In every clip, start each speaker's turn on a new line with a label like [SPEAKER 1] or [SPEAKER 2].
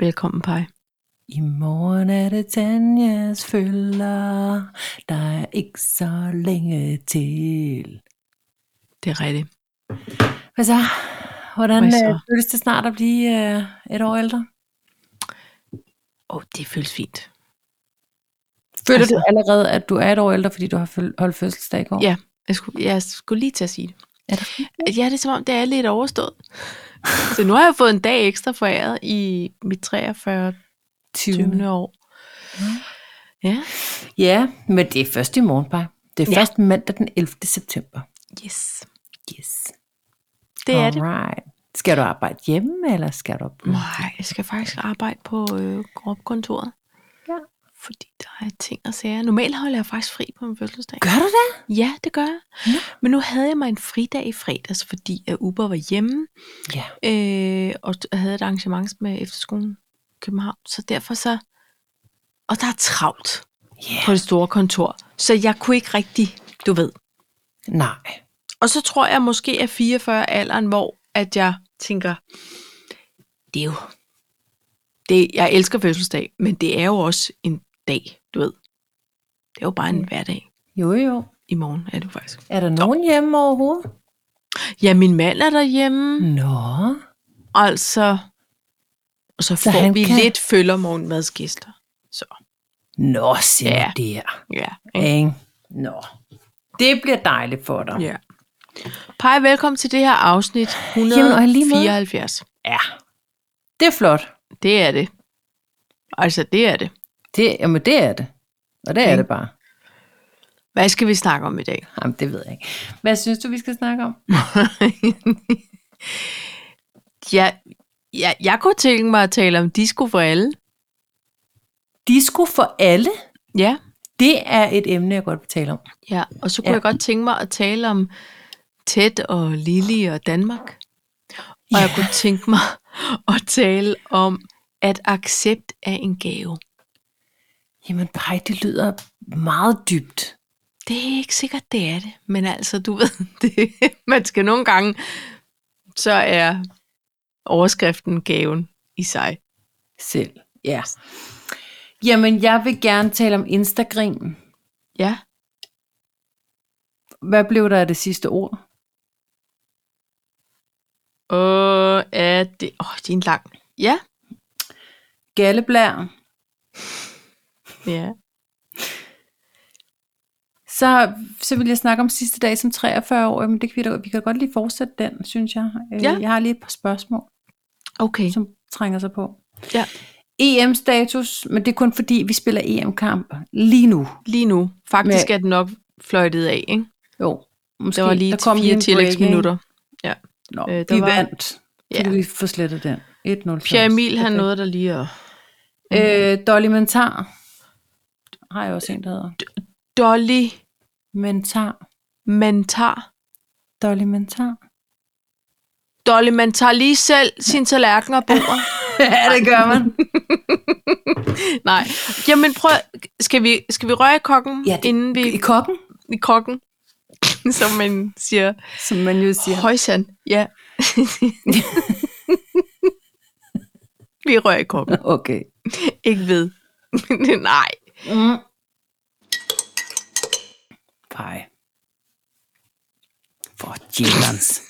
[SPEAKER 1] Velkommen, Paj.
[SPEAKER 2] I morgen er det Tanjas følger. Der er ikke så længe til.
[SPEAKER 1] Det er rigtigt.
[SPEAKER 2] Hvad så? Hvordan
[SPEAKER 1] Hvad så?
[SPEAKER 2] øh, føles det snart at blive øh, et år ældre?
[SPEAKER 1] Åh, oh, det føles fint.
[SPEAKER 2] Føler
[SPEAKER 1] Altså-
[SPEAKER 2] altså, du allerede, at du er et år ældre, fordi du har føl- holdt fødselsdag i går?
[SPEAKER 1] Ja. Jeg skulle, jeg skulle lige til at sige det.
[SPEAKER 2] Er det rigtigt?
[SPEAKER 1] Ja, det er som om, det er lidt overstået. Så nu har jeg fået en dag ekstra foræret i mit 43. 20. år. Ja.
[SPEAKER 2] Ja, men det er først i morgen, bare. Det er
[SPEAKER 1] Ja.
[SPEAKER 2] først mandag den 11. september.
[SPEAKER 1] Yes.
[SPEAKER 2] Yes.
[SPEAKER 1] Det er det.
[SPEAKER 2] Alright. Skal du arbejde hjemme, eller skal du på?
[SPEAKER 1] Nej, jeg skal faktisk arbejde på øh, kontoret.
[SPEAKER 2] Ja.
[SPEAKER 1] Fordi der er ting og sager. Normalt holder jeg faktisk fri på min fødselsdag.
[SPEAKER 2] Gør du det?
[SPEAKER 1] Ja, det gør jeg.
[SPEAKER 2] Nå.
[SPEAKER 1] Men nu havde jeg mig en fridag i fredags, fordi at Uber var hjemme
[SPEAKER 2] Ja.
[SPEAKER 1] øh, og t- havde et arrangement med efterskolen i København. Så derfor så... Og der er travlt
[SPEAKER 2] Ja.
[SPEAKER 1] på det store kontor. Så jeg kunne ikke rigtig, du ved.
[SPEAKER 2] Nej.
[SPEAKER 1] Og så tror jeg måske at 44 alderen, hvor at jeg tænker, det er jo... Det, jeg elsker fødselsdag, men det er jo også en dag, du ved. Det er jo bare
[SPEAKER 2] Mm.
[SPEAKER 1] en hverdag.
[SPEAKER 2] Jo, jo.
[SPEAKER 1] I morgen er det jo faktisk.
[SPEAKER 2] Er der nogen hjemme overhovedet?
[SPEAKER 1] Ja, min mand er derhjemme.
[SPEAKER 2] Mm. Nå.
[SPEAKER 1] Altså, og så,
[SPEAKER 2] Så
[SPEAKER 1] så får
[SPEAKER 2] han
[SPEAKER 1] vi
[SPEAKER 2] kan-
[SPEAKER 1] kan... lidt følger morgenmadsgæster. Så,
[SPEAKER 2] Nå, se
[SPEAKER 1] Ja. Mm.
[SPEAKER 2] ja. det her.
[SPEAKER 1] ja. ikke?
[SPEAKER 2] Ikke? Nå. Det bliver dejligt for dig.
[SPEAKER 1] ja. Pej, velkommen til det her afsnit
[SPEAKER 2] Jamen, og i lige måde.
[SPEAKER 1] 174.
[SPEAKER 2] ja. Det er flot.
[SPEAKER 1] Det er det. Altså, det er det.
[SPEAKER 2] Det, jamen, det er det. Og det er
[SPEAKER 1] Ikke?
[SPEAKER 2] det bare.
[SPEAKER 1] Hvad skal vi snakke om i dag?
[SPEAKER 2] Jamen, det ved jeg ikke. Hvad synes du, vi skal snakke om?
[SPEAKER 1] ja, ja, jeg kunne tænke mig at tale om disco for alle.
[SPEAKER 2] Disco for alle.
[SPEAKER 1] Ja,
[SPEAKER 2] Det er et emne, jeg godt vil tale om.
[SPEAKER 1] ja. og så kunne
[SPEAKER 2] Ja.
[SPEAKER 1] ja. jeg godt tænke mig at tale om Ted og Lili og Danmark. Og jeg kunne tænke mig at tale om, at accept er en gave.
[SPEAKER 2] Jamen, Paj, det lyder meget dybt.
[SPEAKER 1] Det er ikke sikkert, det er det. Men altså, du ved, det, man skal nogle gange, så er overskriften gaven i sig.
[SPEAKER 2] Selv. Ja. Jamen, jeg vil gerne tale om Instagram.
[SPEAKER 1] Ja,
[SPEAKER 2] Hvad blev der af det sidste ord?
[SPEAKER 1] og er det... Åh, oh, det er en lang... Ja,
[SPEAKER 2] Galleblær.
[SPEAKER 1] ja.
[SPEAKER 2] Så, så vil jeg snakke om sidste dag som 43 år. Men det kan vi, da, vi kan godt lige fortsætte den, synes jeg. Øh,
[SPEAKER 1] Ja.
[SPEAKER 2] Jeg har lige et par spørgsmål,
[SPEAKER 1] Okay.
[SPEAKER 2] som trænger sig på.
[SPEAKER 1] Ja.
[SPEAKER 2] EM-status, men det er kun fordi, vi spiller EM-kamp lige nu.
[SPEAKER 1] Lige nu. Faktisk
[SPEAKER 2] Men-
[SPEAKER 1] er den nok fløjtet af, ikke?
[SPEAKER 2] Jo, måske.
[SPEAKER 1] Der var lige
[SPEAKER 2] der kom
[SPEAKER 1] fire
[SPEAKER 2] en break,
[SPEAKER 1] tillægsminutter.
[SPEAKER 2] ikke? Nå,
[SPEAKER 1] Øh,
[SPEAKER 2] øh,
[SPEAKER 1] der
[SPEAKER 2] vi
[SPEAKER 1] var-
[SPEAKER 2] vandt. Så
[SPEAKER 1] Ja.
[SPEAKER 2] kan vi få slettet den. 1-0.
[SPEAKER 1] Pierre Emil, han
[SPEAKER 2] Perfekt.
[SPEAKER 1] nåede der lige at...
[SPEAKER 2] Øh, Dolly Mentar. Har jeg også en, der hedder.
[SPEAKER 1] Dolly
[SPEAKER 2] Mentar.
[SPEAKER 1] Mantar.
[SPEAKER 2] Dolly Mentar.
[SPEAKER 1] Dolly, man tager lige selv sine tallerkener og bordet.
[SPEAKER 2] ja, det gør man.
[SPEAKER 1] Nej. Jamen prøv, skal vi, skal vi røre i kokken,
[SPEAKER 2] Ja,
[SPEAKER 1] ja,
[SPEAKER 2] det-
[SPEAKER 1] det, inden vi
[SPEAKER 2] I koppen,
[SPEAKER 1] i kokken, som man siger.
[SPEAKER 2] som man jo siger.
[SPEAKER 1] Højsand, ja. vi rører i kokken.
[SPEAKER 2] Okay.
[SPEAKER 1] Ikke ved. Nej.
[SPEAKER 2] Mm. Pej. For djævelens.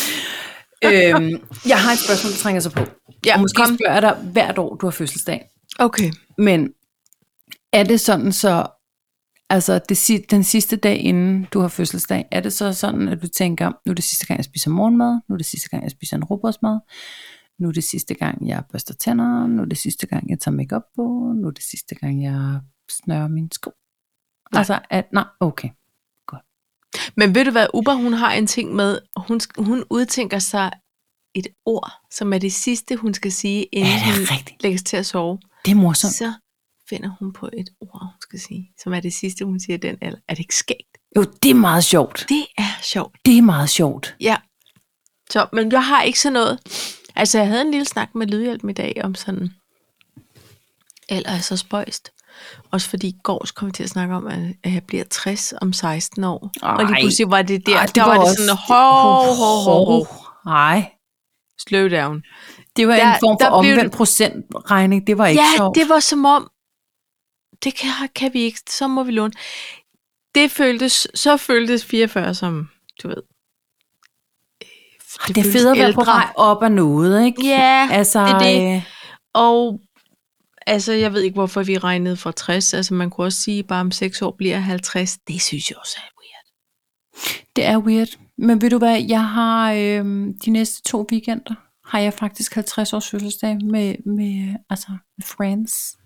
[SPEAKER 2] øhm, jeg har et spørgsmål, der trænger sig på.
[SPEAKER 1] Ja,
[SPEAKER 2] Og Måske
[SPEAKER 1] kom.
[SPEAKER 2] spørger jeg dig hvert år, du har fødselsdag.
[SPEAKER 1] Okay.
[SPEAKER 2] Men er det sådan så, altså det, si- den sidste dag inden du har fødselsdag, er det så sådan, at du tænker, nu er det sidste gang, jeg spiser morgenmad, nu er det sidste gang, jeg spiser en rugbrødsmad, nu er det sidste gang, jeg børster tænder, nu er det sidste gang, jeg tager makeup på, nu er det sidste gang, jeg snører mine sko. Nej.
[SPEAKER 1] Nej.
[SPEAKER 2] Altså, at, nej, okay.
[SPEAKER 1] Men ved du hvad, Uber hun har en ting med, hun, sk- hun udtænker sig et ord, som er det sidste, hun skal sige, inden
[SPEAKER 2] Ja, det er
[SPEAKER 1] hun
[SPEAKER 2] rigtigt.
[SPEAKER 1] lægges til at sove.
[SPEAKER 2] Øhm, Det er morsomt.
[SPEAKER 1] Så finder hun på et ord, hun skal sige, som er det sidste, hun siger i den alder. Er det ikke skægt?
[SPEAKER 2] Jo, det er meget sjovt.
[SPEAKER 1] Det er sjovt.
[SPEAKER 2] Det er meget sjovt.
[SPEAKER 1] Ja. Så, men jeg har ikke sådan noget. Altså, jeg havde en lille snak med Lydhjælpen i dag om sådan, eller er så spøjst. Også fordi i går så kom vi til at snakke om, at at jeg bliver 60 om 16 år. Ej. Og lige
[SPEAKER 2] Ej.
[SPEAKER 1] pludselig var det der, Ej,
[SPEAKER 2] Ej,
[SPEAKER 1] det der var, var det sådan, hov, hov, hov, hov.
[SPEAKER 2] Nej,
[SPEAKER 1] slow down.
[SPEAKER 2] Det var der,
[SPEAKER 1] Der-
[SPEAKER 2] en form for
[SPEAKER 1] der blev
[SPEAKER 2] omvendt procentregning. Det var ikke
[SPEAKER 1] ja,
[SPEAKER 2] sjovt.
[SPEAKER 1] det var som om, det kan, kan vi ikke, så må vi låne. Det føltes, så føltes 44 som, du ved. øh,
[SPEAKER 2] det, det er fedt at være på vej op af noget, ikke?
[SPEAKER 1] Ja,
[SPEAKER 2] altså,
[SPEAKER 1] det er det.
[SPEAKER 2] øh,
[SPEAKER 1] Og altså, jeg ved ikke, hvorfor vi regnede fra 60. Altså, man kunne også sige, bare om 6 år bliver jeg 50. Det synes jeg også er weird.
[SPEAKER 2] det er weird. Men ved du hvad, jeg har øh, de næste to weekender, har jeg faktisk 50 års fødselsdag med, med, øh, altså, med friends.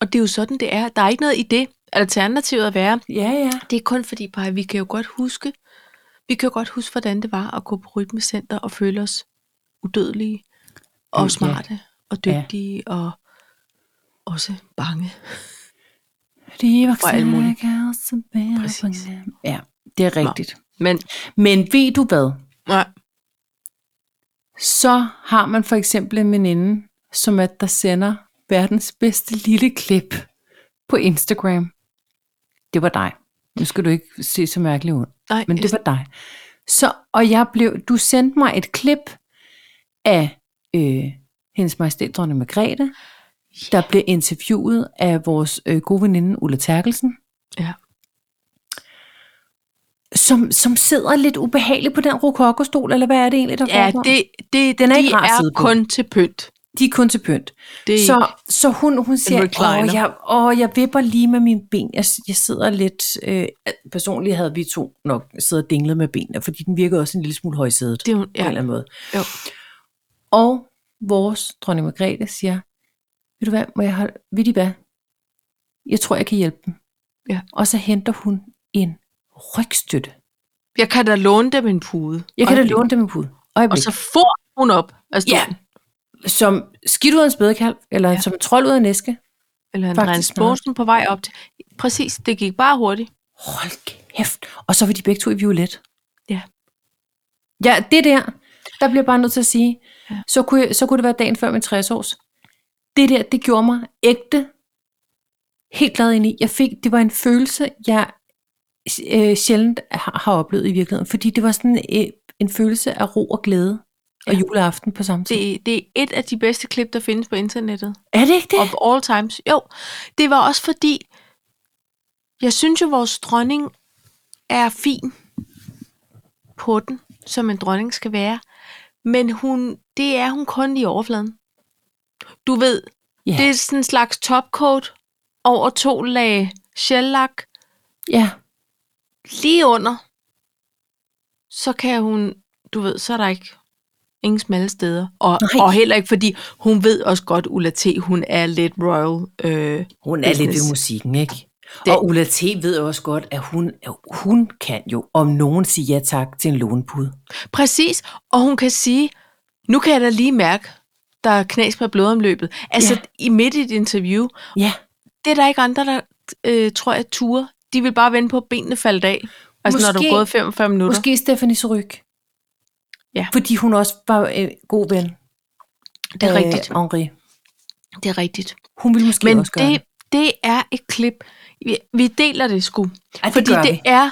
[SPEAKER 1] Og det er jo sådan, det er. Der er ikke noget i det. Alternativet at være,
[SPEAKER 2] Ja, ja.
[SPEAKER 1] det er kun fordi, bare, vi kan jo godt huske, vi kan jo godt huske, hvordan det var at gå på rytmecenter og føle os udødelige og
[SPEAKER 2] Ja.
[SPEAKER 1] smarte og
[SPEAKER 2] Ja.
[SPEAKER 1] dygtige og også bange.
[SPEAKER 2] Det var
[SPEAKER 1] Og alt muligt. Præcis.
[SPEAKER 2] Præcis. Ja, det er rigtigt.
[SPEAKER 1] Men
[SPEAKER 2] Men ved du hvad?
[SPEAKER 1] nej,
[SPEAKER 2] Så har man for eksempel en veninde, som at der sender verdens bedste lille klip på Instagram. Det var dig. Nu skal du ikke se så mærkeligt ud.
[SPEAKER 1] nej,
[SPEAKER 2] Men det var dig. Så, og jeg blev, du sendte mig et klip af øh, hendes majestæt dronning Margrethe, der blev interviewet af vores øh, gode veninde Ulla Terkelsen.
[SPEAKER 1] Ja.
[SPEAKER 2] Som, som sidder lidt ubehageligt på den rokokostol, eller hvad er det egentlig, der
[SPEAKER 1] ja,
[SPEAKER 2] foregår?
[SPEAKER 1] det, det,
[SPEAKER 2] Den er
[SPEAKER 1] de
[SPEAKER 2] ikke rar at sidde
[SPEAKER 1] er
[SPEAKER 2] på.
[SPEAKER 1] kun til pynt.
[SPEAKER 2] De er kun til pynt.
[SPEAKER 1] Det er
[SPEAKER 2] Så, så hun, hun siger,
[SPEAKER 1] recliner.
[SPEAKER 2] åh jeg, åh, jeg vipper lige med mine ben. Jeg, jeg sidder lidt... Øh, personligt havde vi to nok siddet og dinglet med benene, fordi den virkede også en lille smule højsædet.
[SPEAKER 1] Det er hun-
[SPEAKER 2] på en
[SPEAKER 1] ja.
[SPEAKER 2] eller anden måde.
[SPEAKER 1] Jo.
[SPEAKER 2] Og vores dronning Margrethe siger, ved du hvad, må jeg holde, ved de hvad? Jeg tror, jeg kan hjælpe dem.
[SPEAKER 1] Ja.
[SPEAKER 2] Og så henter hun en rygstøtte.
[SPEAKER 1] Jeg kan da låne dem en pude.
[SPEAKER 2] Jeg kan da
[SPEAKER 1] Øjeblik.
[SPEAKER 2] låne dem en pude.
[SPEAKER 1] Og
[SPEAKER 2] Øjeblik.
[SPEAKER 1] så får hun op af
[SPEAKER 2] Ja.
[SPEAKER 1] stolen.
[SPEAKER 2] som skidt ud af en spædekalv, eller ja. som en trold ud af en æske.
[SPEAKER 1] Eller en
[SPEAKER 2] Faktisk
[SPEAKER 1] Rens
[SPEAKER 2] meget.
[SPEAKER 1] Bosen på vej op til. Præcis, det gik bare hurtigt.
[SPEAKER 2] Hold kæft. Og så var de begge to i violet.
[SPEAKER 1] Ja.
[SPEAKER 2] Ja, det der, der bliver jeg bare nødt til at sige,
[SPEAKER 1] Ja.
[SPEAKER 2] ja. så, kunne jeg, så kunne det være dagen før min 60 års. Det der, det gjorde mig ægte, helt glad ind i. Jeg fik, det var en følelse, jeg øh, sjældent har, har oplevet i virkeligheden, fordi det var sådan øh, en følelse af ro og glæde og
[SPEAKER 1] Ja.
[SPEAKER 2] juleaften på samme tid.
[SPEAKER 1] Det,
[SPEAKER 2] Det,
[SPEAKER 1] det er et af de bedste klip, der findes på internettet.
[SPEAKER 2] er det ikke det?
[SPEAKER 1] Of all times. Jo, det var også fordi, jeg synes jo, vores dronning er fin på den, som en dronning skal være. Men hun, det er hun kun i overfladen. Du ved,
[SPEAKER 2] ja.
[SPEAKER 1] det er sådan en slags topcoat over to lag shellak,
[SPEAKER 2] ja.
[SPEAKER 1] lige under, så kan hun, du ved, så er der ikke ingen smalle steder. Og,
[SPEAKER 2] Nej.
[SPEAKER 1] og heller ikke, fordi hun ved også godt, Ulla T., hun er lidt royal. Øh,
[SPEAKER 2] Hun er lidt
[SPEAKER 1] business.
[SPEAKER 2] ved musikken, ikke?
[SPEAKER 1] Det-
[SPEAKER 2] Det. Og Ulla T. ved også godt, at hun, hun kan jo om nogen sige ja tak til en lånpude.
[SPEAKER 1] præcis, og hun kan sige, nu kan jeg da lige mærke, der er knas med blodomløbet. Altså,
[SPEAKER 2] Ja.
[SPEAKER 1] i midt i et interview,
[SPEAKER 2] Ja,
[SPEAKER 1] det er der ikke andre, der øh, tror jeg ture. De vil bare vende på, at benene faldt af. Altså, når du er
[SPEAKER 2] Måske-
[SPEAKER 1] gået 45 minutter. Måske.
[SPEAKER 2] måske Stephanie Ryg.
[SPEAKER 1] Ja.
[SPEAKER 2] Fordi hun også var en god ven. øh,
[SPEAKER 1] Det er rigtigt.
[SPEAKER 2] Henri.
[SPEAKER 1] Det er rigtigt.
[SPEAKER 2] Hun ville måske
[SPEAKER 1] Men
[SPEAKER 2] også gøre
[SPEAKER 1] det, det er et klip. Vi, vi deler det sgu.
[SPEAKER 2] Ej, det
[SPEAKER 1] fordi
[SPEAKER 2] gør
[SPEAKER 1] det
[SPEAKER 2] vi.
[SPEAKER 1] er